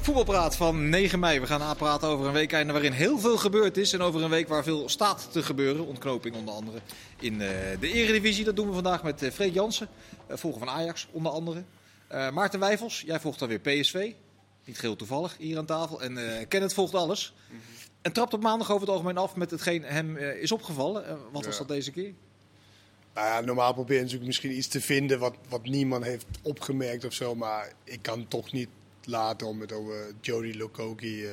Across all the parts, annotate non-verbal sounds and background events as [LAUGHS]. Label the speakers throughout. Speaker 1: Voetbalpraat van 9 mei. We gaan napraten over een weekende waarin heel veel gebeurd is. En over een week waar veel staat te gebeuren. Ontknoping onder andere in eh, de Eredivisie. Dat doen we vandaag met eh, Freek Jansen, eh, volger van Ajax onder andere. Eh, Maarten Wijfels, jij volgt dan weer PSV. Niet geheel toevallig hier aan tafel. En eh Kenneth volgt alles. En trapt op maandag over het algemeen af met hetgeen hem eh, is opgevallen. Eh, wat was
Speaker 2: Ja.
Speaker 1: dat deze keer?
Speaker 2: Nou ja, normaal probeer je natuurlijk misschien iets te vinden wat, wat niemand heeft opgemerkt of zo. Maar ik kan toch niet laten om het over Jody Lokoki eh,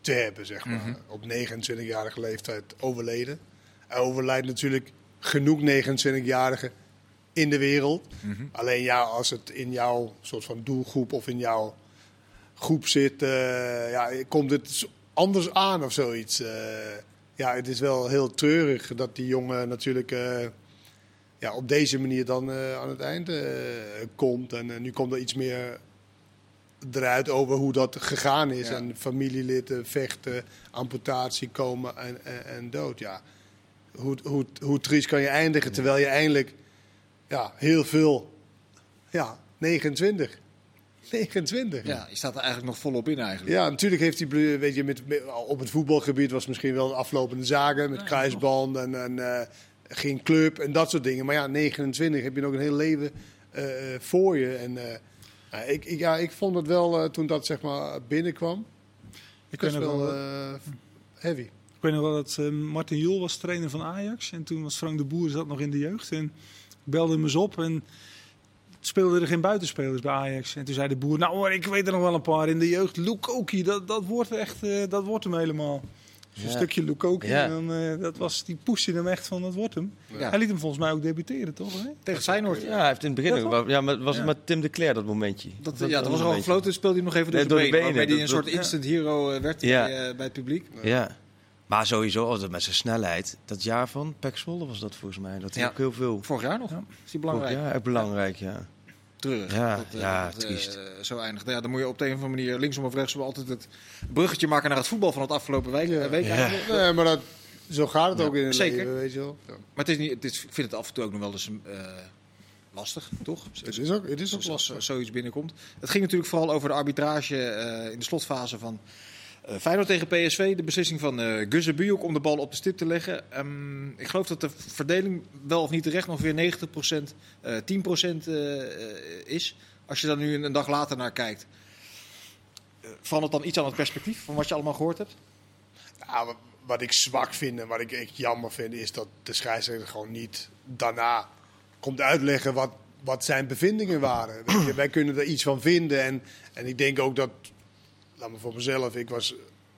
Speaker 2: te hebben, zeg maar. Op 29-jarige leeftijd overleden. Er overlijdt natuurlijk genoeg 29-jarigen in de wereld. Alleen ja, als het in jouw soort van doelgroep of in jouw groep zit, eh, ja, komt het s- anders aan of zoiets. Eh, ja, het is wel heel treurig dat die jongen natuurlijk eh, ja, op deze manier dan eh, aan het eind eh, komt. En eh, nu komt er iets meer eruit over hoe dat gegaan is.
Speaker 1: Ja.
Speaker 2: En familieleden vechten, amputatie komen en, en, en dood. Ja. Hoe, hoe, hoe triest kan je eindigen terwijl je eindelijk ja, heel veel... Ja, 29. 29.
Speaker 1: Ja, je staat er eigenlijk nog volop in eigenlijk.
Speaker 2: Ja, natuurlijk heeft hij, ble- weet je, met, met- op het voetbalgebied was misschien wel de aflopende zaken met kruisband en, en eh, geen club en dat soort dingen. Maar ja, 29 heb je nog een heel leven eh, eh, voor je. En eh, nou, ik, ik, ja, ik vond het wel, eh, toen dat zeg maar binnenkwam,
Speaker 3: Ik weet,
Speaker 2: best
Speaker 3: nog
Speaker 2: wel
Speaker 3: wel,
Speaker 2: eh, heavy.
Speaker 3: ik weet nog wel dat eh, Martin Jul was trainer van Ajax. En toen was Frank de Boer zat nog in de jeugd. En belde hem eens op en speelden er geen buitenspelers bij Ajax. En toen zei de Boer, nou hoor, ik weet er nog wel een paar in de jeugd. Lukoki, dat, dat wordt echt, eh, dat wordt hem helemaal. Zo'n
Speaker 4: Ja.
Speaker 3: stukje Lukoki.
Speaker 4: Ja.
Speaker 3: En dan, eh, dat was, die poesje hem echt van, dat wordt hem.
Speaker 1: Ja.
Speaker 3: Hij liet hem volgens mij ook debuteren, toch? Hè?
Speaker 1: Tegen Feyenoord.
Speaker 4: Ja, hij heeft in het begin
Speaker 3: Ja,
Speaker 4: ook wel- Ja, maar was
Speaker 3: Ja.
Speaker 4: het met Tim de Cler dat momentje?
Speaker 1: Dat, ja, dat was al
Speaker 4: momentje.
Speaker 1: gefloten, toen dus speelde hij nog even door,
Speaker 4: Nee,
Speaker 1: de,
Speaker 4: door de
Speaker 1: benen,
Speaker 4: benen,
Speaker 1: Waarbij hij een
Speaker 4: dat-
Speaker 1: soort
Speaker 4: dat-
Speaker 1: instant hero eh, werd
Speaker 4: Ja.
Speaker 1: bij, eh, bij het publiek.
Speaker 4: Ja. Maar sowieso, altijd met zijn snelheid. Dat jaar van Pek Zwolle was dat volgens mij. Dat hij
Speaker 1: Ja.
Speaker 4: ook heel veel...
Speaker 1: Vorig jaar nog.
Speaker 3: Ja.
Speaker 1: Is die belangrijk?
Speaker 4: Ja, echt belangrijk, ja.
Speaker 1: Treurig.
Speaker 4: Ja,
Speaker 1: eh,
Speaker 4: ja,
Speaker 1: eh,
Speaker 4: triest.
Speaker 1: zo eindigt. Ja, dan moet je op de een of andere manier linksom of rechtsom altijd het bruggetje maken naar het voetbal van het afgelopen week.
Speaker 2: Ja.
Speaker 1: week
Speaker 4: Ja.
Speaker 1: eigenlijk.
Speaker 2: Nee, maar dat, zo gaat het ook in het
Speaker 1: zeker.
Speaker 2: leven, weet je wel. Ja.
Speaker 1: Maar het is niet, het is, ik vind het af en toe ook nog wel eens eh, lastig, toch?
Speaker 2: Het is ook, het is ook
Speaker 1: Als,
Speaker 2: lastig.
Speaker 1: als zoiets binnenkomt. Het ging natuurlijk vooral over de arbitrage eh, in de slotfase van eh, Feyenoord tegen PSV. De beslissing van eh Guzze Buyuk om de bal op de stip te leggen. Ehm, ik geloof dat de verdeling wel of niet terecht nog weer 90%, eh 10% eh, eh, is. Als je daar nu een, een dag later naar kijkt. eh, verandert dan iets aan het perspectief van wat je allemaal gehoord hebt?
Speaker 2: Ja, Ah, wat, wat ik zwak vind en wat ik echt jammer vind, is dat de scheidsrechter gewoon niet daarna komt uitleggen wat, wat zijn bevindingen waren. Weet je, wij kunnen er iets van vinden. En, en ik denk ook dat, laat me voor mezelf, ik was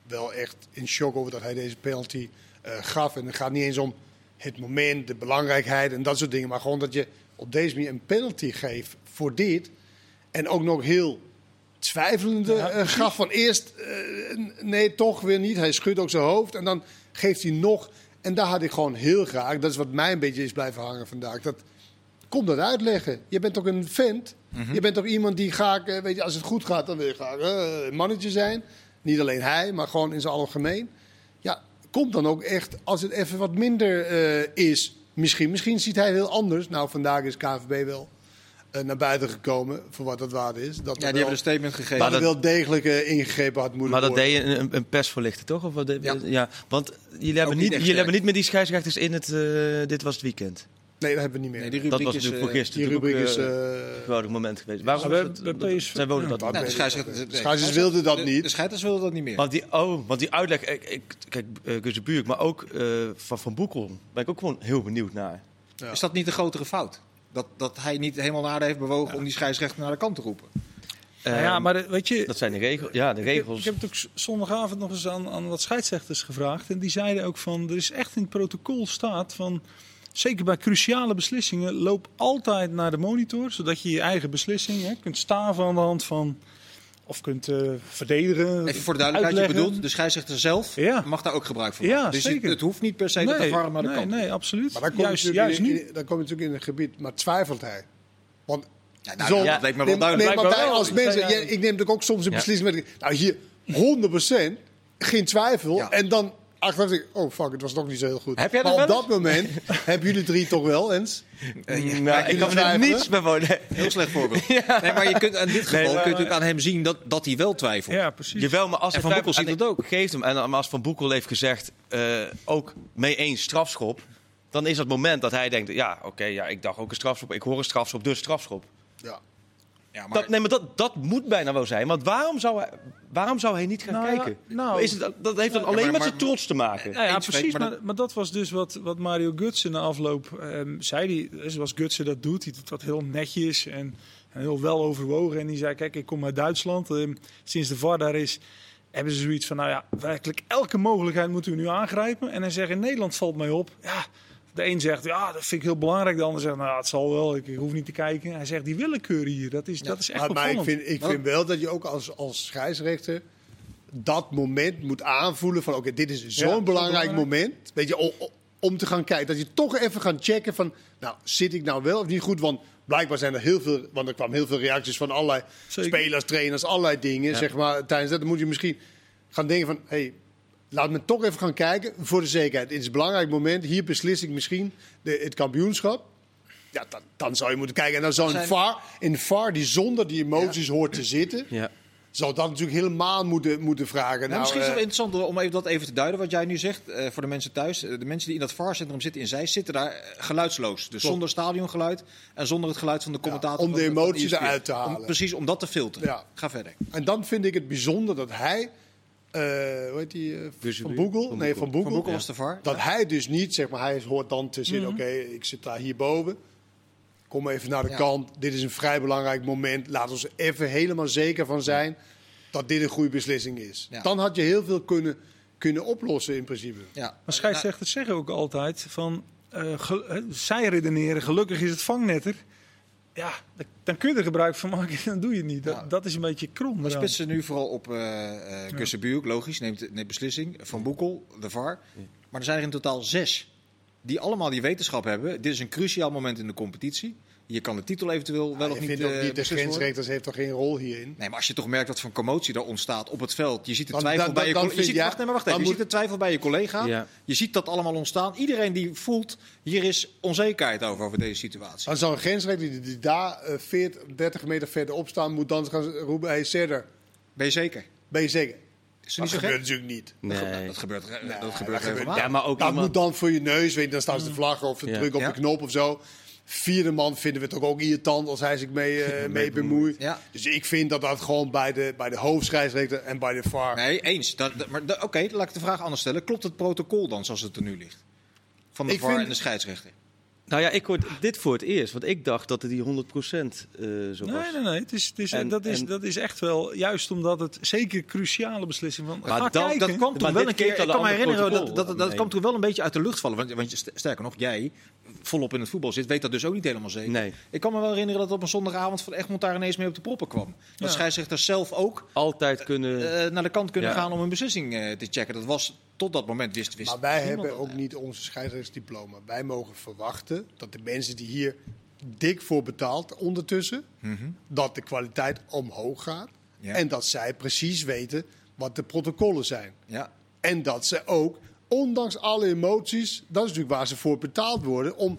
Speaker 2: wel echt in shock over dat hij deze penalty eh, gaf. En het gaat niet eens om het moment, de belangrijkheid en dat soort dingen. Maar gewoon dat je op deze manier een penalty geeft voor dit. En ook nog heel twijfelende
Speaker 3: Ja,
Speaker 2: eh, gaf van eerst eh, n- nee, toch weer niet. Hij schudt ook zijn hoofd en dan geeft hij nog. En daar had ik gewoon heel graag, dat is wat mij een beetje is blijven hangen vandaag. Dat, kom dat uitleggen. Je bent toch een vent?
Speaker 1: Mhm.
Speaker 2: Je bent toch iemand die graag, eh, weet je, als het goed gaat, dan wil je graag eh, een mannetje zijn. Niet alleen hij, maar gewoon in zijn algemeen. Ja, komt dan ook echt als het even wat minder eh, is. Misschien, misschien ziet hij heel anders. Nou, vandaag is KVB wel eh, naar buiten gekomen, voor wat dat waard is. Dat
Speaker 1: Ja, die
Speaker 2: er
Speaker 1: hebben
Speaker 2: wel-
Speaker 1: een statement gegeven.
Speaker 2: maar
Speaker 4: Maar
Speaker 2: dat
Speaker 4: dat-
Speaker 2: wel degelijk eh, ingegrepen had moeten
Speaker 4: Maar dat
Speaker 2: worden.
Speaker 4: deed je een, een persvoorlichter, toch? Of wat deed-
Speaker 1: Ja.
Speaker 4: ja. Want jullie
Speaker 1: Ook niet
Speaker 4: hebben niet,
Speaker 1: echt
Speaker 4: jullie
Speaker 1: sterk.
Speaker 4: hebben niet meer die scheidsrechters in het... eh, dit was het weekend.
Speaker 2: Nee, dat hebben we niet meer.
Speaker 1: Nee, die
Speaker 4: Dat
Speaker 1: rubriek
Speaker 4: was
Speaker 1: is...
Speaker 4: natuurlijk
Speaker 1: eh,
Speaker 4: voor gisteren.
Speaker 2: die rubriek
Speaker 4: natuurlijk
Speaker 2: is...
Speaker 4: ook, eh,
Speaker 2: eh,
Speaker 4: een geweldig moment geweest. Waarom
Speaker 3: Maar
Speaker 4: is
Speaker 3: bij-
Speaker 4: dat,
Speaker 3: bij
Speaker 4: dat-
Speaker 3: PSV
Speaker 4: zij wilden dat
Speaker 2: ja,
Speaker 4: niet.
Speaker 1: nou, de
Speaker 2: Nee,
Speaker 1: scheidsrechter-
Speaker 2: dat-
Speaker 1: nee, de
Speaker 2: scheidsrechters wilden dat
Speaker 1: de-
Speaker 2: niet.
Speaker 1: De scheidsrechters wilden dat niet meer.
Speaker 4: Want die, oh, want die uitleg, ik, ik, kijk, uh, Buurk, maar ook eh, van Van Boekel, ben ik ook gewoon heel benieuwd naar.
Speaker 2: Ja.
Speaker 1: Is dat niet de grotere fout? Dat, dat hij niet helemaal naar de heeft bewogen om die scheidsrechter naar de kant te roepen.
Speaker 3: Nou ja,
Speaker 4: Ehm,
Speaker 3: maar eh, weet je,
Speaker 4: Dat zijn de regels. Ja, de
Speaker 3: Ik heb-
Speaker 4: regels.
Speaker 3: Ik heb het ook z- zondagavond nog eens aan, aan wat scheidsrechters gevraagd. En die zeiden ook van, er is echt in het protocol staat van... Zeker bij cruciale beslissingen, loop altijd naar de monitor. Zodat je je eigen beslissing hè, kunt staven aan de hand van... Of kunt eh, verdedigen.
Speaker 1: Even voor de duidelijkheid, je
Speaker 3: uitleggen.
Speaker 1: bedoelt, de scheidsrechter zelf
Speaker 3: Ja.
Speaker 1: mag daar ook gebruik van
Speaker 3: Ja,
Speaker 1: maken. dus
Speaker 3: zeker.
Speaker 1: Het, het hoeft niet per se dat de VAR naar de
Speaker 3: nee,
Speaker 1: kant
Speaker 3: nee, absoluut.
Speaker 2: Maar dan kom,
Speaker 3: juist
Speaker 2: je
Speaker 3: juist
Speaker 2: natuurlijk in,
Speaker 3: nu.
Speaker 2: in- dan kom je natuurlijk in een gebied, maar twijfelt hij? Want
Speaker 1: Ja, nou,
Speaker 2: zo-
Speaker 1: dat leek me wel
Speaker 2: nee,
Speaker 1: duidelijk.
Speaker 2: Nee, maar
Speaker 3: Lijkt
Speaker 2: wij
Speaker 3: me
Speaker 2: als
Speaker 3: wel.
Speaker 2: mensen,
Speaker 3: Ja,
Speaker 2: jij-
Speaker 3: ja.
Speaker 2: ik neem natuurlijk ook soms een
Speaker 4: Ja.
Speaker 2: beslissing met... Nou, hier 100%, geen twijfel.
Speaker 1: Ja.
Speaker 2: En dan achteraf denk ik, oh fuck, het was nog niet zo heel goed.
Speaker 4: Heb jij
Speaker 2: maar
Speaker 4: dat
Speaker 2: op
Speaker 4: wel
Speaker 2: dat moment hebben jullie drie toch wel, Ens?
Speaker 4: nou, ik kan me er
Speaker 2: twijfelen.
Speaker 4: niets bij wonen.
Speaker 1: [LAUGHS] Heel slecht voorbeeld. Nee, maar je kunt, in dit geval
Speaker 4: maar-
Speaker 1: kun je natuurlijk aan hem zien dat, dat hij wel twijfelt.
Speaker 3: Ja, precies.
Speaker 4: Jawel, maar als
Speaker 1: En
Speaker 4: hij
Speaker 1: Van Boekel
Speaker 4: twijfelt-
Speaker 1: ziet dat ook.
Speaker 4: Geeft hem. En dan- maar als Van Boekel heeft gezegd, eh, ook mee eens strafschop. Dan is dat moment dat hij denkt, ja, oké, ja, ik dacht ook een strafschop. Ik hoor een strafschop, dus strafschop.
Speaker 2: Ja.
Speaker 1: Ja, maar,
Speaker 4: Dat, nee, maar dat, dat moet bijna wel zijn. Want waarom zou hij, waarom zou hij niet gaan
Speaker 3: Nou ja,
Speaker 4: kijken?
Speaker 3: nou-
Speaker 4: is het, dat- dat heeft dan
Speaker 1: maar-
Speaker 4: alleen met
Speaker 1: maar-
Speaker 4: zijn trots te maken.
Speaker 3: Ja, ja,
Speaker 1: Eens,
Speaker 3: precies.
Speaker 1: maar
Speaker 3: Maar,
Speaker 1: dat-
Speaker 3: maar, dat was dus wat, wat Mario Gutsen na afloop ehm, zei. Die, zoals Gutsen dat doet, die doet dat heel netjes en, en heel wel overwogen. En die zei, kijk, ik kom uit Duitsland. Ehm, sinds de VAR daar is, hebben ze zoiets van, nou ja, werkelijk elke mogelijkheid moeten we nu aangrijpen. En hij zegt, in Nederland valt mij op. Ja, de een zegt, ja, dat vind ik heel belangrijk. De ander zegt, nou, ja, het zal wel, ik, ik hoef niet te kijken. Hij zegt, die willekeur hier, dat is, dat is echt
Speaker 2: maar, maar ik
Speaker 3: opvallend.
Speaker 2: vind, ik vind wel dat je ook als, als scheidsrechter dat moment moet aanvoelen van oké, dit is zo'n
Speaker 3: Ja,
Speaker 2: belangrijk
Speaker 3: belangrijk.
Speaker 2: moment. Weet je, o- o- om te gaan kijken. Dat je toch even gaat checken van nou, zit ik nou wel of niet goed? Want blijkbaar zijn er heel veel, want er kwamen heel veel reacties van allerlei
Speaker 3: Zeker.
Speaker 2: spelers, trainers, allerlei dingen. Zeg maar, tijdens dat dan moet je misschien gaan denken van Hey, Laat me toch even gaan kijken voor de zekerheid. Het is een belangrijk moment. Hier beslis ik misschien de, het kampioenschap. Ja, dan, dan zou je moeten kijken. En dan zou een
Speaker 1: Zijn-
Speaker 2: VAR, een VAR die zonder die emoties hoort te zitten,
Speaker 4: Ja.
Speaker 2: zou dat natuurlijk helemaal moeten, moeten vragen.
Speaker 1: Nou,
Speaker 2: Nou,
Speaker 1: misschien is het
Speaker 2: eh,
Speaker 1: wel interessant om even dat even te duiden wat jij nu zegt eh, voor de mensen thuis. Eh, de mensen die in dat VAR-centrum zitten in zij zitten daar eh, geluidsloos. Dus zonder stadiongeluid en zonder het geluid van de E commentator.
Speaker 2: om de
Speaker 1: van- van
Speaker 2: emotie
Speaker 1: ESPN.
Speaker 2: eruit te
Speaker 1: Om-
Speaker 2: halen.
Speaker 1: precies, om dat te filteren.
Speaker 2: Ja.
Speaker 1: Ga verder.
Speaker 2: en dan vind ik het bijzonder dat hij, eh, hoe heet die, eh,
Speaker 4: Dus-
Speaker 2: van Boekel?
Speaker 4: Van
Speaker 2: Nee,
Speaker 4: Boekel.
Speaker 2: van Boekel.
Speaker 1: Van Boekel was de VAR. Mhm.
Speaker 2: Dat hij dus niet, zeg maar, hij hoort dan te zitten. Oké, ik zit daar hierboven. Kom even naar de
Speaker 1: Ja.
Speaker 2: kant. Dit is een vrij belangrijk moment. Laat ons even helemaal zeker van zijn dat dit een goede beslissing is.
Speaker 1: Ja.
Speaker 2: Dan had je heel veel kunnen, kunnen oplossen in principe.
Speaker 1: Ja.
Speaker 3: Maar scheidsrechters zeggen ook altijd van, eh, gel- hè, zij redeneren, gelukkig is het vangnetter. Ja, dan- dan kun je er gebruik van maken, dan doe je het niet. Dat,
Speaker 1: Ja.
Speaker 3: dat is een beetje krom.
Speaker 1: Nou, We
Speaker 3: eraan.
Speaker 1: spitsen nu vooral op eh eh Kussenbuurk, logisch, neemt, neemt beslissing. Van Boekel, de VAR. Maar er zijn er in totaal zes die allemaal die wetenschap hebben. Dit is een cruciaal moment in de competitie. Je kan de titel eventueel wel of
Speaker 2: ik
Speaker 1: niet
Speaker 2: vind ook
Speaker 1: eh,
Speaker 2: niet, de
Speaker 1: beslist worden.
Speaker 2: grensrechters heeft toch geen rol hierin?
Speaker 1: Nee, maar als je toch merkt wat voor commotie er ontstaat op het veld. Je ziet de
Speaker 2: Dan-
Speaker 1: twijfel
Speaker 2: dan-
Speaker 1: bij je
Speaker 2: dan
Speaker 1: collega. Je, ziet,
Speaker 2: vind je-
Speaker 1: wacht, nee, maar wacht even.
Speaker 2: dan
Speaker 1: je
Speaker 2: moet-
Speaker 1: ziet de twijfel bij je collega.
Speaker 4: Ja.
Speaker 1: Je ziet dat allemaal ontstaan. Iedereen die voelt, hier is onzekerheid over, over deze situatie.
Speaker 2: Dan zou een grensrechter die, die daar eh, 40, 30 meter verderop staan, moet dan gaan roepen, hey Serder,
Speaker 1: Ben je zeker?
Speaker 2: ben je zeker?
Speaker 1: Is er
Speaker 2: Dat
Speaker 1: niet zo
Speaker 2: gebeurt
Speaker 1: gek?
Speaker 2: natuurlijk niet.
Speaker 1: Nou,
Speaker 4: Nee.
Speaker 1: Dat gebeurt, dat
Speaker 2: Nee, dat
Speaker 1: gebeurt
Speaker 2: gebeurt-
Speaker 1: regelmatig.
Speaker 4: Ja, maar ook
Speaker 2: dat
Speaker 4: iemand...
Speaker 2: moet dan voor je neus, weet je, dan staan ze de vlaggen of de
Speaker 4: Ja.
Speaker 2: druk op
Speaker 1: Mm. Ja.
Speaker 2: de knop of zo. Vierde man vinden we toch ook irritant als hij zich
Speaker 1: [LAUGHS]
Speaker 2: mee, eh, mee bemoeit.
Speaker 1: Ja.
Speaker 2: Dus ik vind dat dat gewoon bij de, bij de hoofdscheidsrechter en bij de VAR...
Speaker 1: Nee, eens. Dat, dat- maar dat- Oké, dan laat ik de vraag anders stellen. Klopt het protocol dan zoals het er nu ligt? Van de
Speaker 2: Ik
Speaker 1: VAR
Speaker 2: vind-
Speaker 1: en de scheidsrechter.
Speaker 4: Nou ja, ik hoor dit voor het eerst. Want ik dacht dat het die 100% eh zo was.
Speaker 3: Nee, nee, nee. Het is, het is,
Speaker 4: En-
Speaker 3: dat, is,
Speaker 4: en-
Speaker 3: dat is echt wel, juist omdat het zeker cruciale beslissing van.
Speaker 4: Maar
Speaker 3: ga
Speaker 4: dat-
Speaker 3: kijken.
Speaker 1: Dat kwam toen
Speaker 4: Maar
Speaker 1: wel
Speaker 4: dit
Speaker 1: een keer.
Speaker 4: geeft
Speaker 1: Ik
Speaker 4: al
Speaker 1: kan me
Speaker 4: een ander
Speaker 1: herinneren dat,
Speaker 4: protocol.
Speaker 1: dat, dat,
Speaker 4: Nee.
Speaker 1: kwam toen wel een beetje uit de lucht vallen. Want, want je- sterker nog, jij volop in het voetbal zit, weet dat dus ook niet helemaal zeker.
Speaker 4: Nee.
Speaker 1: Ik kan me wel herinneren dat op een zondagavond van Egmond daar ineens mee op de proppen kwam. Dat
Speaker 3: Ja.
Speaker 1: scheidsrechters zelf ook
Speaker 4: Altijd kunnen...
Speaker 1: eh, naar de kant kunnen
Speaker 4: Ja.
Speaker 1: gaan om een beslissing eh, te checken. Dat was tot dat moment wist wist.
Speaker 2: Maar wij
Speaker 1: niemand
Speaker 2: hebben
Speaker 1: dat.
Speaker 2: ook niet onze scheidsrechtsdiploma. Wij mogen verwachten dat de mensen die hier dik voor betaalt ondertussen, dat de kwaliteit omhoog gaat.
Speaker 1: Ja.
Speaker 2: En dat zij precies weten wat de protocollen zijn.
Speaker 1: Ja.
Speaker 2: En dat ze ook, ondanks alle emoties, dat is natuurlijk waar ze voor betaald worden, om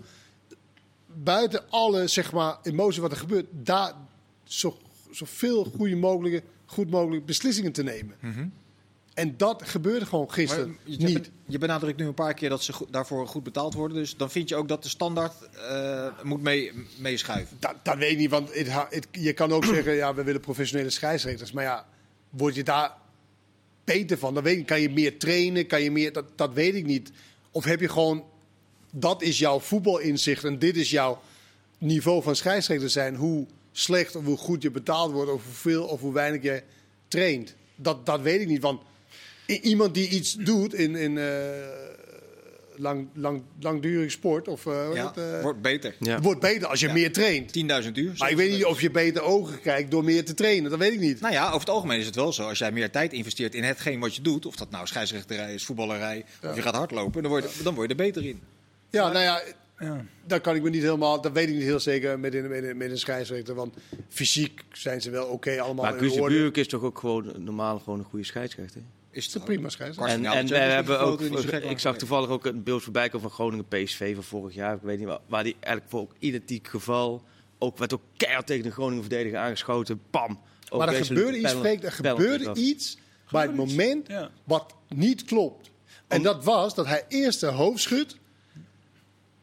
Speaker 2: buiten alle zeg maar, emotie wat er gebeurt, daar zo, zoveel goede mogelijke, goed mogelijk beslissingen te nemen. En dat gebeurde gewoon
Speaker 1: Maar
Speaker 2: gisteren
Speaker 1: je,
Speaker 2: niet.
Speaker 1: ben- je benadrukt nu een paar keer dat ze goed- daarvoor goed betaald worden. Dus dan vind je ook dat de standaard eh, moet mee- meeschuiven.
Speaker 2: Dat, dat weet ik niet, want het, ha- het- je kan ook [CLEARS THROAT] zeggen, ja, we willen professionele scheidsrechters. Maar ja, word je daar beter van? Dan weet ik, kan je meer trainen, kan je meer, dat, dat weet ik niet. Of heb je gewoon, dat is jouw voetbalinzicht en dit is jouw niveau van scheidsrechter zijn. Hoe slecht of hoe goed je betaald wordt of hoeveel of hoe weinig je traint. Dat, dat weet ik niet, want i- iemand die iets doet in, in eh, lang, lang, langdurig sport of eh, hoe heet
Speaker 1: Ja,
Speaker 2: het, eh,
Speaker 1: wordt beter.
Speaker 4: Ja.
Speaker 2: wordt beter als je
Speaker 1: Ja.
Speaker 2: meer traint.
Speaker 1: 10.000 uur.
Speaker 2: Maar ik weet niet of je beter ogen kijkt door meer te trainen. Dat weet ik niet.
Speaker 1: Nou ja, over het algemeen is het wel zo. Als jij meer tijd investeert in hetgeen wat je doet, of dat nou scheidsrechterij is, voetballerij, of je gaat hardlopen, dan word je, dan word je er beter in.
Speaker 2: Ja, nou ja,
Speaker 3: Ja.
Speaker 2: dat kan ik me niet helemaal. Dat weet ik niet heel zeker met een, met een, met een scheidsrechter. Want fysiek zijn ze wel oké allemaal.
Speaker 4: Maar
Speaker 2: in
Speaker 4: Guus de
Speaker 2: orde.
Speaker 4: Buurk is toch ook gewoon normaal gewoon een goede scheidsrechter?
Speaker 1: Is het
Speaker 2: is een prima scheidsrechter.
Speaker 1: Als je
Speaker 4: En,
Speaker 1: nou de
Speaker 4: en we
Speaker 1: Champions League
Speaker 4: hebben ook,
Speaker 1: groter niet zo gek
Speaker 4: ik
Speaker 1: maakt.
Speaker 4: zag toevallig ook een beeld voorbij komen van Groningen PSV van vorig jaar. Ik weet niet waar, waar die eigenlijk voor ook identiek geval. Ook werd ook keihard tegen de Groningen verdediger aangeschoten. Bam! Ook
Speaker 2: Maar er
Speaker 4: wezenlijk
Speaker 2: gebeurde iets,
Speaker 4: penalty-
Speaker 2: Freek, er
Speaker 4: penalty
Speaker 2: gebeurde
Speaker 4: was.
Speaker 2: iets bij het
Speaker 3: Gebeurde iets.
Speaker 2: moment
Speaker 3: Ja.
Speaker 2: wat niet klopt. En dat was dat hij eerst zijn hoofd schudt.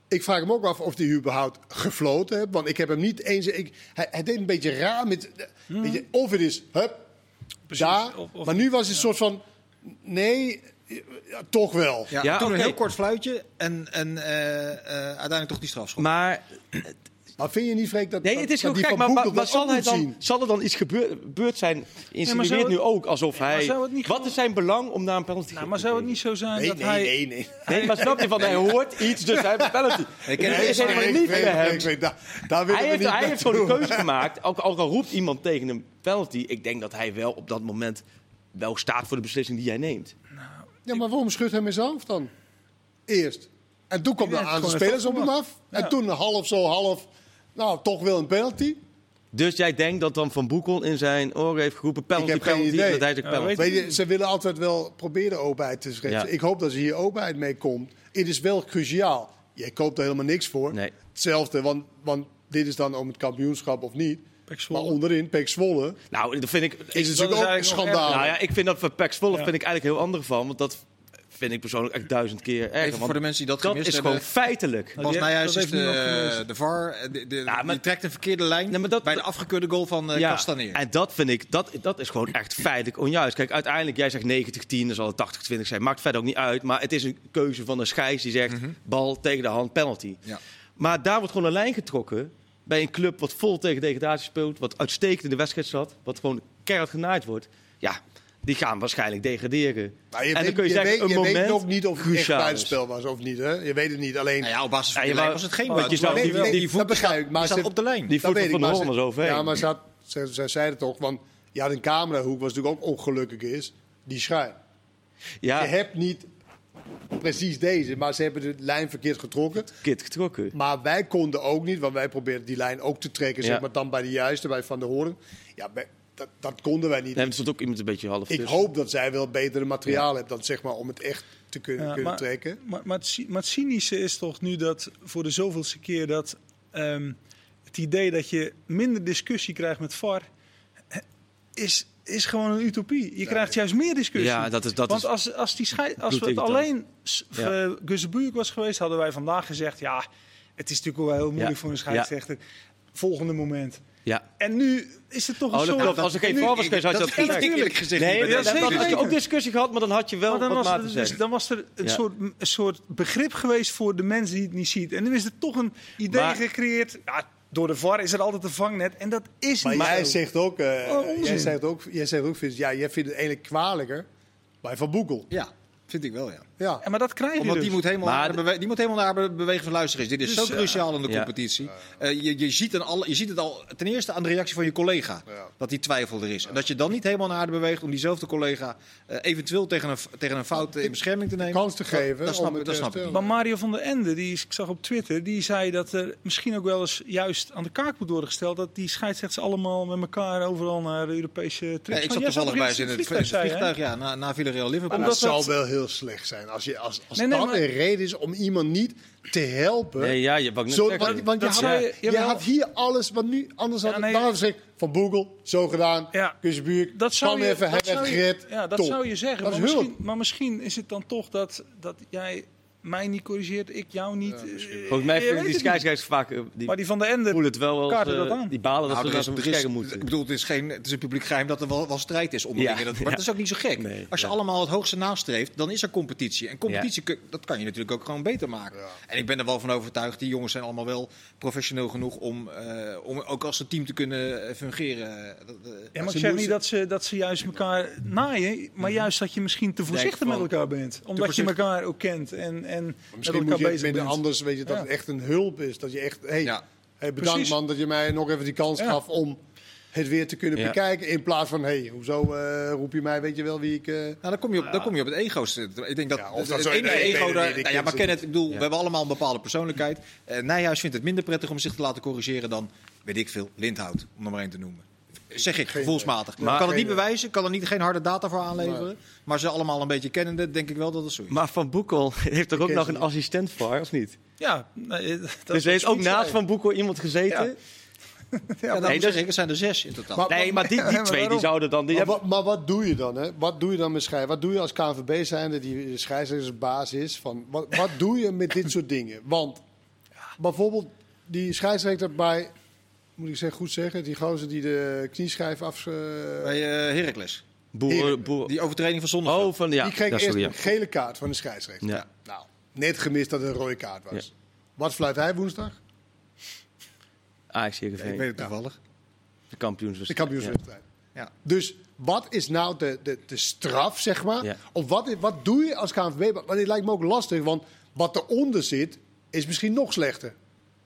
Speaker 2: Ik vraag hem ook af of hij überhaupt gefloten heeft. Want ik heb hem niet eens... Ik, hij, hij deed een beetje raar met... weet je, of het is, hup, daar.
Speaker 3: Hmm. of- of-
Speaker 2: maar nu was het een soort van, nee, ja, toch wel.
Speaker 1: Ja,
Speaker 4: Ja,
Speaker 1: toen
Speaker 4: oké.
Speaker 1: een heel kort fluitje en, en eh, eh, uiteindelijk toch die strafschop.
Speaker 4: Maar
Speaker 2: Maar vind je niet, Freek, dat,
Speaker 4: nee,
Speaker 2: dat-
Speaker 4: het is
Speaker 2: dat
Speaker 4: heel
Speaker 2: die
Speaker 4: gek.
Speaker 2: Van
Speaker 4: Maar,
Speaker 2: Boekel
Speaker 4: maar, maar
Speaker 2: dat
Speaker 4: zal,
Speaker 2: ook
Speaker 4: hij
Speaker 2: moet
Speaker 4: dan,
Speaker 2: zien?
Speaker 4: zal er dan iets gebeur- gebeurd zijn? Insinueert
Speaker 3: zou het-
Speaker 4: nu ook alsof
Speaker 3: maar
Speaker 4: hij.
Speaker 3: zou het niet
Speaker 4: Wat
Speaker 3: gewoon-
Speaker 4: is zijn belang om daar een penalty te
Speaker 3: Nou, maar zou het niet zo zijn
Speaker 2: Nee,
Speaker 3: dat
Speaker 2: nee,
Speaker 3: hij...
Speaker 2: nee, nee. [LAUGHS]
Speaker 4: Nee, maar snap je van hij hoort iets, dus hij heeft een penalty.
Speaker 1: Ik
Speaker 4: Het
Speaker 1: ken-
Speaker 4: is
Speaker 2: Freek,
Speaker 4: helemaal
Speaker 2: Freek,
Speaker 4: niet
Speaker 2: Freek,
Speaker 4: bij hem.
Speaker 2: Freek, Freek, daar- daar willen
Speaker 4: Hij
Speaker 2: we
Speaker 4: heeft,
Speaker 2: niet
Speaker 4: hij heeft
Speaker 2: naartoe.
Speaker 4: gewoon de keuze gemaakt. Ook, ook al roept iemand tegen een penalty, ik denk dat hij wel op dat moment wel staat voor de beslissing die hij neemt.
Speaker 2: Ja, maar waarom schudt hij mezelf dan? Eerst. En toen kwam
Speaker 3: Ik
Speaker 2: de
Speaker 3: denk
Speaker 2: aantal
Speaker 3: gewoon
Speaker 2: spelers
Speaker 3: een
Speaker 2: op hem af.
Speaker 3: Ja.
Speaker 2: En toen half zo, half... Nou, toch wel een penalty.
Speaker 4: Dus jij denkt dat dan Van Boekel in zijn oren heeft geroepen penalty,
Speaker 2: Ik heb geen
Speaker 4: penalty,
Speaker 2: idee.
Speaker 4: en dat hij de
Speaker 3: Ja,
Speaker 4: penalty.
Speaker 3: weet-
Speaker 2: Weet je, ze willen altijd wel proberen openheid te schrijven.
Speaker 4: Ja.
Speaker 2: Ik hoop dat ze hier openheid mee komt. Het is wel cruciaal. Je koopt er helemaal niks voor.
Speaker 4: Nee.
Speaker 2: Hetzelfde, want, want dit is dan om het kampioenschap of niet.
Speaker 3: Pek Zwolle.
Speaker 2: Maar onderin, Pek Zwolle,
Speaker 4: nou, dat vind ik... ik-
Speaker 2: is het natuurlijk ook een
Speaker 3: eigenlijk nog
Speaker 2: schandaal.
Speaker 4: nou ja, ik vind dat voor Pax Volle
Speaker 3: Ja.
Speaker 4: vind ik eigenlijk heel ander van, want dat vind ik persoonlijk echt duizend keer erger.
Speaker 1: Even voor
Speaker 4: want
Speaker 1: de mensen die dat
Speaker 4: dat
Speaker 1: gemist
Speaker 4: is
Speaker 1: hebben.
Speaker 4: gewoon feitelijk.
Speaker 3: Nou,
Speaker 1: Bas
Speaker 3: die-
Speaker 1: Nijhuis
Speaker 3: dat
Speaker 1: is
Speaker 3: heeft niemand
Speaker 1: de,
Speaker 3: gemist.
Speaker 1: de VAR. eh, De, de,
Speaker 4: Ja, maar-
Speaker 1: die trekt een verkeerde lijn
Speaker 4: Nee, maar dat-
Speaker 1: bij de afgekeurde goal van eh
Speaker 4: Ja,
Speaker 1: Castaneer.
Speaker 4: En dat vind ik, dat, dat is gewoon echt feitelijk onjuist. Kijk, uiteindelijk, jij zegt 90-10, dan zal het 80-20 zijn. Maakt verder ook niet uit. Maar het is een keuze van een scheids die zegt bal tegen de hand, penalty.
Speaker 1: Mhm. Ja.
Speaker 4: Maar daar wordt gewoon een lijn getrokken bij een club wat vol tegen degradatie speelt. Wat uitstekend in de wedstrijd zat. Wat gewoon keihard genaaid wordt. Ja, die gaan waarschijnlijk degraderen.
Speaker 2: Nou, je
Speaker 4: en dan
Speaker 2: weet,
Speaker 4: kun je,
Speaker 2: je
Speaker 4: zeggen,
Speaker 2: weet,
Speaker 4: een
Speaker 2: je
Speaker 4: moment
Speaker 2: weet ook niet of het echt
Speaker 4: cruciaal is.
Speaker 2: buitenspel was of niet. Hè? Je weet het niet. Alleen,
Speaker 1: Nou ja, op basis van
Speaker 4: Ja,
Speaker 1: die
Speaker 4: je
Speaker 1: lijn
Speaker 4: wou-
Speaker 1: was het geen
Speaker 4: want je
Speaker 1: buitenspel.
Speaker 4: zou
Speaker 2: Nee,
Speaker 4: die-
Speaker 2: nee,
Speaker 4: die
Speaker 2: dat
Speaker 1: voet
Speaker 2: begrijp ik, Maar
Speaker 1: staat
Speaker 2: ze-
Speaker 1: op de lijn.
Speaker 4: Die
Speaker 2: Dat
Speaker 4: voet
Speaker 2: weet
Speaker 4: van
Speaker 2: ik,
Speaker 4: de
Speaker 2: maar
Speaker 4: Hoorn was
Speaker 2: ze-
Speaker 4: overheen.
Speaker 2: Ja, maar ze had, ze, zij zei het toch, want je had een camerahoek, was natuurlijk ook ongelukkig is, die schuin.
Speaker 4: ja,
Speaker 2: Je hebt niet precies deze, maar ze hebben de lijn verkeerd getrokken.
Speaker 4: kit getrokken.
Speaker 2: Maar wij konden ook niet, want wij probeerden die lijn ook te trekken,
Speaker 4: Ja.
Speaker 2: zeg maar dan bij de juiste, bij Van der Hoorn. Ja, wij- dat, dat konden wij niet.
Speaker 4: Nee, dus- maar er stond ook iemand een beetje half
Speaker 2: ik
Speaker 4: tussen.
Speaker 2: hoop dat zij wel betere materiaal hebt dan zeg maar om het echt te kunnen,
Speaker 3: Ja,
Speaker 2: kunnen
Speaker 3: maar,
Speaker 2: trekken.
Speaker 3: Maar, maar, het, cy- maar het cynische is toch nu dat voor de zoveelste keer dat ehm, het idee dat je minder discussie krijgt met VAR eh, is, is gewoon een utopie. Je krijgt juist meer discussie.
Speaker 4: Ja, dat is- dat
Speaker 3: Want
Speaker 4: is-
Speaker 3: als, als, die schei- als we het
Speaker 4: bloedirritant.
Speaker 3: alleen s-
Speaker 4: Ja.
Speaker 3: eh, Gussenbuurk was geweest, hadden wij vandaag gezegd: ja, het is natuurlijk wel heel moeilijk
Speaker 4: Ja.
Speaker 3: voor een scheidsrechter. Volgende moment.
Speaker 4: Ja.
Speaker 3: En nu is het toch
Speaker 4: Oh,
Speaker 3: een
Speaker 4: dat
Speaker 3: soort.
Speaker 4: klopt. Als er geen
Speaker 1: nu-
Speaker 4: voor was geweest, had je
Speaker 1: dat
Speaker 4: dat
Speaker 1: weet ik
Speaker 4: gezegd.
Speaker 1: eerlijk gezegd
Speaker 4: Nee,
Speaker 1: niet
Speaker 4: dat
Speaker 1: meer.
Speaker 3: Ja,
Speaker 4: dan
Speaker 3: zeker
Speaker 4: had je
Speaker 3: weten.
Speaker 4: ook discussie gehad, maar dan had je wel
Speaker 3: Maar dan
Speaker 4: wat
Speaker 3: was,
Speaker 4: maat
Speaker 3: er,
Speaker 4: te
Speaker 3: dus-
Speaker 4: zeggen.
Speaker 3: dan was er een,
Speaker 4: Ja.
Speaker 3: soort, een soort begrip geweest voor de mensen die het niet ziet. En nu is er toch een idee
Speaker 4: Maar-
Speaker 3: gecreëerd. Ja, door de VAR is er altijd een vangnet. En dat is
Speaker 2: Maar
Speaker 3: niet
Speaker 2: jij
Speaker 3: zo.
Speaker 2: zegt ook, eh,
Speaker 3: Oh, onzin.
Speaker 2: jij zegt ook, jij zegt ook, Vince, ja, jij vindt het eigenlijk kwalijker bij Van Boekel.
Speaker 1: Ja, vind ik wel, ja.
Speaker 2: Ja.
Speaker 3: Ja, maar dat krijg je
Speaker 1: Omdat
Speaker 3: dus.
Speaker 1: die moet helemaal,
Speaker 4: Maar
Speaker 1: naar, de bewe- die moet helemaal naar de beweging van luisteraars. Dit is
Speaker 3: Dus,
Speaker 1: zo
Speaker 3: eh,
Speaker 1: cruciaal in de
Speaker 4: ja.
Speaker 1: competitie. Eh, je, je, ziet aan alle, je ziet het al ten eerste aan de reactie van je collega.
Speaker 2: Ja.
Speaker 1: Dat die twijfel er is. En dat je dan niet helemaal naar de beweegt om diezelfde collega eh, eventueel tegen een, tegen een fout eh, in bescherming te nemen.
Speaker 2: kans te geven
Speaker 1: Dat, dat
Speaker 2: om
Speaker 1: snap, ik,
Speaker 2: het eh,
Speaker 1: dat
Speaker 2: te
Speaker 1: snap ik niet.
Speaker 3: Maar Mario van der Ende, die is- ik zag op Twitter, die zei dat er misschien ook wel eens juist aan de kaak moet worden gesteld. Dat die scheidsrechters allemaal met elkaar overal naar de Europese
Speaker 1: Ja,
Speaker 3: trips.
Speaker 1: ik
Speaker 3: gaan.
Speaker 1: zat
Speaker 3: Jij
Speaker 1: toevallig
Speaker 3: nog
Speaker 1: bij ze in
Speaker 3: eens
Speaker 1: het vliegtuig,
Speaker 3: zei je, hè?
Speaker 1: ja, na, na Villarreal Liverpool.
Speaker 2: Maar
Speaker 3: Omdat
Speaker 2: dat zou
Speaker 3: dat-
Speaker 2: wel heel slecht zijn. Als, je, als, als
Speaker 3: Nee, nee,
Speaker 2: dat
Speaker 3: maar-
Speaker 2: een reden is om iemand niet te helpen.
Speaker 4: Nee, ja, je wou ik net
Speaker 2: zo,
Speaker 4: zeggen.
Speaker 2: want want je,
Speaker 3: Dat
Speaker 2: had,
Speaker 3: zei je-
Speaker 2: je
Speaker 3: jawel.
Speaker 2: had hier alles wat nu anders
Speaker 3: Ja,
Speaker 2: had.
Speaker 3: nee.
Speaker 2: dan hadden ze gezegd, van Boegel, zo gedaan.
Speaker 3: Ja.
Speaker 2: Kussenbuur,
Speaker 3: Dat zou
Speaker 2: kwam
Speaker 3: je,
Speaker 2: even, hij
Speaker 3: dat
Speaker 2: werd
Speaker 3: zou je-
Speaker 2: gered.
Speaker 3: Ja, dat
Speaker 2: top.
Speaker 3: zou je zeggen.
Speaker 2: Dat
Speaker 3: maar,
Speaker 2: is
Speaker 3: misschien,
Speaker 2: hulp.
Speaker 3: maar misschien is het dan toch dat, dat jij mij niet corrigeert, ik jou niet. Eh,
Speaker 4: Volgens mij
Speaker 3: je weet
Speaker 4: vinden die
Speaker 3: het niet.
Speaker 4: scheidsrechters vaak... eh, Die
Speaker 3: Maar die van de Ende.
Speaker 4: voelen het wel als,
Speaker 3: kaarten
Speaker 4: eh,
Speaker 3: dat aan.
Speaker 4: Die balen dat
Speaker 1: Nou,
Speaker 4: ze
Speaker 1: er
Speaker 4: naar
Speaker 1: is-
Speaker 4: zo'n
Speaker 1: er is-
Speaker 4: beschermen
Speaker 1: Ik
Speaker 4: moeten.
Speaker 1: bedoel, het is, geen, het is een publiek geheim dat er wel, wel strijd is onderling.
Speaker 4: Ja,
Speaker 1: En dat-
Speaker 4: ja.
Speaker 1: Maar dat is ook niet zo gek.
Speaker 4: Nee,
Speaker 1: Als je
Speaker 4: ja.
Speaker 1: allemaal het hoogste nastreeft, dan is er competitie. En competitie, kun- dat kan je natuurlijk ook gewoon beter maken. En ik ben er wel van overtuigd, die jongens zijn allemaal wel professioneel genoeg om, eh, om ook als een team te kunnen eh, fungeren. Dat, eh,
Speaker 3: Ja, maar
Speaker 1: ze
Speaker 3: ik zeg
Speaker 1: doen-
Speaker 3: niet dat ze, dat ze juist elkaar naaien, maar
Speaker 2: Mhm.
Speaker 3: juist dat je misschien te voorzichtig
Speaker 4: Denk
Speaker 3: met
Speaker 4: van-
Speaker 3: elkaar bent. Omdat je
Speaker 1: voorzichtig.
Speaker 3: elkaar ook kent en, en met
Speaker 2: Misschien
Speaker 3: elkaar
Speaker 2: moet je het
Speaker 3: bezig
Speaker 2: met
Speaker 3: bent.
Speaker 2: anders, weet je, dat
Speaker 3: Ja.
Speaker 2: het echt een hulp is. Dat je echt, hey,
Speaker 1: Ja.
Speaker 2: hey, bedankt
Speaker 3: Precies.
Speaker 2: man dat je mij nog even die kans
Speaker 3: Ja.
Speaker 2: gaf om het weer te kunnen
Speaker 4: Ja.
Speaker 2: bekijken. In plaats van, hey, hoezo eh, roep je mij, weet je wel wie ik... eh,
Speaker 1: Nou, dan kom je op, dan kom je op het ego's. eh, Ik denk dat,
Speaker 2: Ja, of dat
Speaker 1: het
Speaker 2: zo-
Speaker 1: enige
Speaker 2: nee,
Speaker 1: ego
Speaker 2: nee,
Speaker 1: daar...
Speaker 2: nee, nee,
Speaker 1: nou ja, maar
Speaker 2: nee.
Speaker 1: ken het. Ik bedoel,
Speaker 4: Ja.
Speaker 1: we hebben allemaal een bepaalde persoonlijkheid. Eh Nijhuis vindt het minder prettig om zich te laten corrigeren dan, weet ik veel, Lindhout. Om er maar één te noemen. Zeg ik,
Speaker 2: Geen
Speaker 1: gevoelsmatig.
Speaker 4: Maar-
Speaker 1: ik kan het niet
Speaker 2: Geen-
Speaker 1: bewijzen, kan er niet, geen harde data voor aanleveren. Maar ze allemaal een beetje kennende, denk ik wel dat het zo is.
Speaker 4: Maar Van Boekel heeft toch ook
Speaker 2: ken
Speaker 4: nog
Speaker 2: ze
Speaker 4: een
Speaker 2: niet.
Speaker 4: assistent VAR, of niet?
Speaker 3: Ja, nee, [LAUGHS] dat
Speaker 4: dus er
Speaker 3: is
Speaker 4: heeft ook
Speaker 3: zoiets
Speaker 4: naast
Speaker 3: zijn.
Speaker 4: Van Boekel iemand gezeten.
Speaker 3: Ja.
Speaker 1: ja, dat moet
Speaker 4: nee, dat-
Speaker 1: zeggen, het zijn er zes in totaal.
Speaker 2: Maar-
Speaker 4: Nee, maar die, die
Speaker 3: Maar
Speaker 4: twee die
Speaker 3: waarom?
Speaker 4: zouden dan... Die
Speaker 2: Maar,
Speaker 4: hebben,
Speaker 2: wat, maar wat doe je dan? Hè? Wat doe je dan met scheids? Wat doe je als KNVB zijnde die de scheidsrechtersbaas is? Van, wat, wat doe je met dit soort dingen? Want bijvoorbeeld die scheidsrechter bij, moet ik zeggen, goed zeggen, die gozer die de knieschijf af... eh,
Speaker 1: Bij eh Heracles.
Speaker 4: boeren,
Speaker 2: Heerlijk.
Speaker 4: boeren-
Speaker 1: Die overtreding van zondag.
Speaker 4: Oh, van ja.
Speaker 2: die kreeg
Speaker 4: ja,
Speaker 2: eerst
Speaker 4: sorry, ja.
Speaker 2: een gele kaart van de scheidsrechter.
Speaker 4: Ja.
Speaker 2: Nou, net gemist dat het een rode kaart was.
Speaker 4: Ja.
Speaker 2: Wat fluit hij woensdag?
Speaker 4: Ajax
Speaker 1: Ik
Speaker 4: CGV,
Speaker 1: weet het toevallig.
Speaker 4: de kampioenswedstrijd.
Speaker 2: De kampioenswedstrijd.
Speaker 1: Ja.
Speaker 2: Dus wat is nou de, de, de straf, zeg maar?
Speaker 4: Ja.
Speaker 2: Of wat, wat doe je als KNVB? Want dit lijkt me ook lastig, want wat eronder zit, is misschien nog slechter.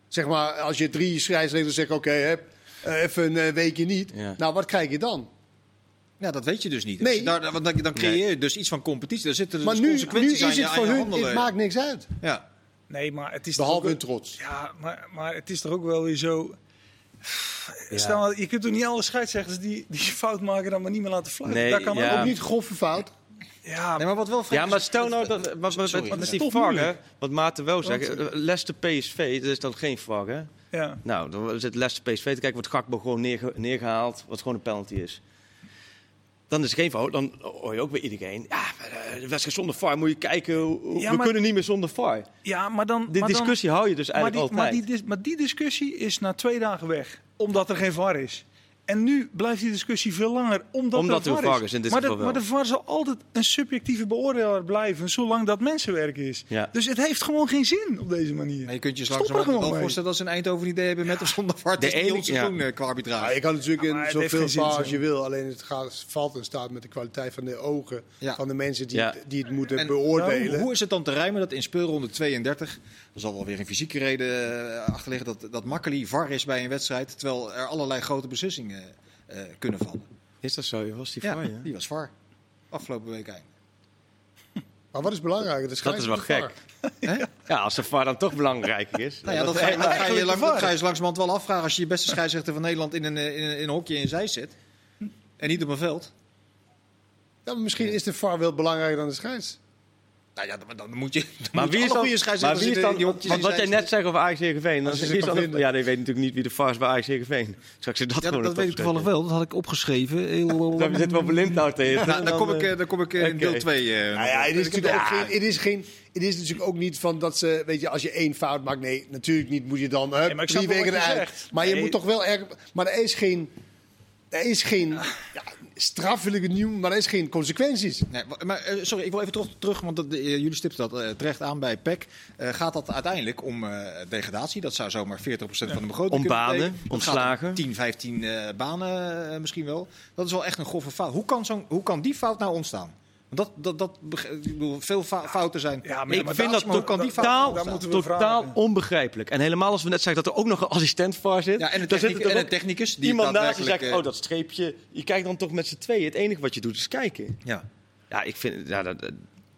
Speaker 2: Zeg maar, als je drie scheidsrechters zegt, oké, hè, eh, even een eh, weekje niet.
Speaker 4: Ja.
Speaker 2: Nou, wat krijg je dan?
Speaker 1: Ja, dat weet je dus niet.
Speaker 2: Nee.
Speaker 1: Dus daar- want dan, dan creëer je dus iets van competitie. Daar zitten
Speaker 2: maar
Speaker 1: dus
Speaker 2: nu, nu
Speaker 1: consequenties
Speaker 2: is
Speaker 1: aan je,
Speaker 2: het
Speaker 1: aan
Speaker 2: voor
Speaker 1: je
Speaker 2: hun,
Speaker 1: handelen.
Speaker 2: het maakt niks uit.
Speaker 1: Ja.
Speaker 3: Nee, maar het is toch ook-
Speaker 2: Behalve hun trots.
Speaker 3: Ja, maar, maar het is toch ook wel weer zo. Stel, nou, je kunt toch niet alle scheidsrechters die, die fout maken dan maar niet meer laten fluiten.
Speaker 4: Nee,
Speaker 3: Daar kan
Speaker 4: ja.
Speaker 3: ook
Speaker 2: Ook
Speaker 3: niet.
Speaker 2: niet grove fout.
Speaker 3: Ja,
Speaker 1: Nee, maar wat wel fijn
Speaker 4: Ah, Ja,
Speaker 1: is-
Speaker 4: maar stel nou dat, wat, wat,
Speaker 1: Sorry.
Speaker 4: wat
Speaker 1: Dat
Speaker 4: met
Speaker 1: is
Speaker 4: die
Speaker 3: toch
Speaker 4: VAR, hè,
Speaker 3: moeilijk?
Speaker 4: wat Maarten wel zegt, eh, Leicester PSV, dat is dan geen VAR, hè?
Speaker 3: ja.
Speaker 4: Nou, dan zit Leicester PSV te kijken, wordt Gakbo gewoon neerge- neergehaald, wat gewoon een penalty is. Dan is het geen fout, dan hoor je ook weer iedereen, ja, maar, eh, de wedstrijd zonder VAR, moet je kijken, hoe- hoe-
Speaker 3: Ja,
Speaker 4: we
Speaker 3: maar-
Speaker 4: kunnen niet meer zonder VAR.
Speaker 3: ja, maar dan.
Speaker 4: Die
Speaker 3: maar dan-
Speaker 4: discussie hou je dus
Speaker 3: maar,
Speaker 4: eigenlijk
Speaker 3: die, maar,
Speaker 4: altijd.
Speaker 3: die, dis- maar die discussie is na twee dagen weg, omdat er geen VAR is. En nu blijft die discussie veel langer, omdat,
Speaker 4: Omdat
Speaker 3: er
Speaker 4: er
Speaker 3: VAR,
Speaker 4: VAR is in dit
Speaker 3: maar,
Speaker 4: geval
Speaker 3: de,
Speaker 4: wel.
Speaker 3: maar de VAR zal altijd een subjectieve beoordelaar blijven, zolang dat mensenwerk is.
Speaker 4: Ja.
Speaker 3: Dus het heeft gewoon geen zin op deze manier.
Speaker 1: Maar je kunt je zo
Speaker 3: Stop er
Speaker 1: langzamerhand
Speaker 3: gewoon
Speaker 1: wel
Speaker 3: mee.
Speaker 1: voorstellen dat ze in Eindhoven een idee hebben met of zonder VAR. Het
Speaker 4: De
Speaker 1: is niet
Speaker 4: ene-
Speaker 1: ons
Speaker 4: ja.
Speaker 1: seizoen eh, qua arbitrage.
Speaker 2: Ja, je kan natuurlijk
Speaker 3: maar
Speaker 2: in
Speaker 3: het heeft
Speaker 2: zoveel
Speaker 3: geen zin,
Speaker 2: vaar
Speaker 3: zo.
Speaker 2: als je wil. Alleen het gaat, valt en staat met de kwaliteit van de ogen
Speaker 1: Ja.
Speaker 2: van de mensen die,
Speaker 4: Ja.
Speaker 2: het, die het moeten
Speaker 1: En-
Speaker 2: beoordelen.
Speaker 1: Hoe, hoe is het dan te rijmen dat in speelronde 32, er zal wel weer een fysieke reden eh, achter liggen, dat, dat Makkeli var is bij een wedstrijd, terwijl er allerlei grote beslissingen eh, kunnen vallen.
Speaker 4: Is dat zo? Was die
Speaker 1: Ja,
Speaker 4: VAR, ja?
Speaker 1: die was var. Afgelopen week eind.
Speaker 2: Maar wat is belangrijk? De
Speaker 4: Dat is wel
Speaker 2: scheidsrechter
Speaker 4: gek.
Speaker 1: Hè?
Speaker 4: Ja, als de VAR dan toch belangrijker is.
Speaker 1: Nou ja, dat, ga, je- dat ga je lang, dat ga je ze langzamerhand wel afvragen als je je beste scheidsrechter van Nederland in een, eh, in een, in een hokje in zij zet. En niet op een veld.
Speaker 2: Ja, maar misschien is de VAR wel belangrijker dan de scheids.
Speaker 1: Nou ja, dan, dan moet je. dan
Speaker 4: [LAUGHS] Maar
Speaker 1: moet je
Speaker 4: wie is
Speaker 1: alle goede
Speaker 4: dan, maar
Speaker 1: scheidsrechters
Speaker 4: wie is
Speaker 1: in de- in
Speaker 4: dan
Speaker 1: die hokjes
Speaker 4: want
Speaker 1: in
Speaker 4: wat jij
Speaker 1: zij
Speaker 4: net zegt over Ajax Heerenveen, dan
Speaker 2: Als je
Speaker 4: is
Speaker 2: ze
Speaker 4: wie is
Speaker 2: kan
Speaker 4: dan,
Speaker 2: vinden.
Speaker 4: ja, nee, ik weet natuurlijk niet wie de VAR is bij Ajax Heerenveen. Straks is dat
Speaker 1: Ja,
Speaker 4: gewoon
Speaker 1: dat, dat weet ik toevallig wel. Dat had ik opgeschreven.
Speaker 4: Dan zit wel blind nou te hitten.
Speaker 1: Nou, dan kom ik, eh, dan kom ik eh, in
Speaker 4: Oké.
Speaker 1: deel 2.
Speaker 2: Nou ja, het is, natuurlijk ook geen, het, is geen, het is natuurlijk ook niet van dat ze, weet je, als je één fout maakt, nee, natuurlijk niet, moet je dan hè,
Speaker 3: Nee, maar ik
Speaker 2: drie
Speaker 3: snap wel
Speaker 2: weken
Speaker 3: wat je
Speaker 2: eruit.
Speaker 3: zegt.
Speaker 2: Maar je
Speaker 3: Nee.
Speaker 2: moet toch wel erg. Maar er is geen, er is geen ja, straf wil ik het niet noemen, maar er is geen consequenties.
Speaker 1: Nee, wa- maar, eh, sorry, ik wil even terug, terug want dat, eh, jullie stipten dat eh, terecht aan bij PEC. Eh, gaat dat uiteindelijk om eh, degradatie? Dat zou zomaar 40% van de begroting
Speaker 4: Om
Speaker 1: kunnen
Speaker 4: banen,
Speaker 1: betekenen. Dat
Speaker 4: ontslagen.
Speaker 1: gaat om 10, 15 eh, banen eh, misschien wel. Dat is wel echt een grove fout. Hoe kan, zo'n, hoe kan die fout nou ontstaan? Want dat, dat, dat, beg- ik bedoel, veel fa- fouten zijn.
Speaker 3: Ja, maar-
Speaker 1: ik
Speaker 3: maar
Speaker 1: vind
Speaker 3: daar-
Speaker 1: dat hoe kan die fout
Speaker 4: totaal,
Speaker 3: daar moeten we
Speaker 4: totaal
Speaker 3: vragen.
Speaker 4: onbegrijpelijk. En helemaal als we net zeiden dat er ook nog een assistent VAR zit.
Speaker 1: Ja, en een
Speaker 4: dan
Speaker 1: technic-
Speaker 4: zit er
Speaker 1: en
Speaker 4: ook
Speaker 1: een technicus die
Speaker 4: iemand naast en
Speaker 1: daadwerkelijk,
Speaker 4: zegt,
Speaker 1: eh,
Speaker 4: oh dat streepje. Je kijkt dan toch met z'n tweeën. Het enige wat je doet is kijken.
Speaker 1: Ja.
Speaker 4: Ja, ik vind, ja, dat, dat-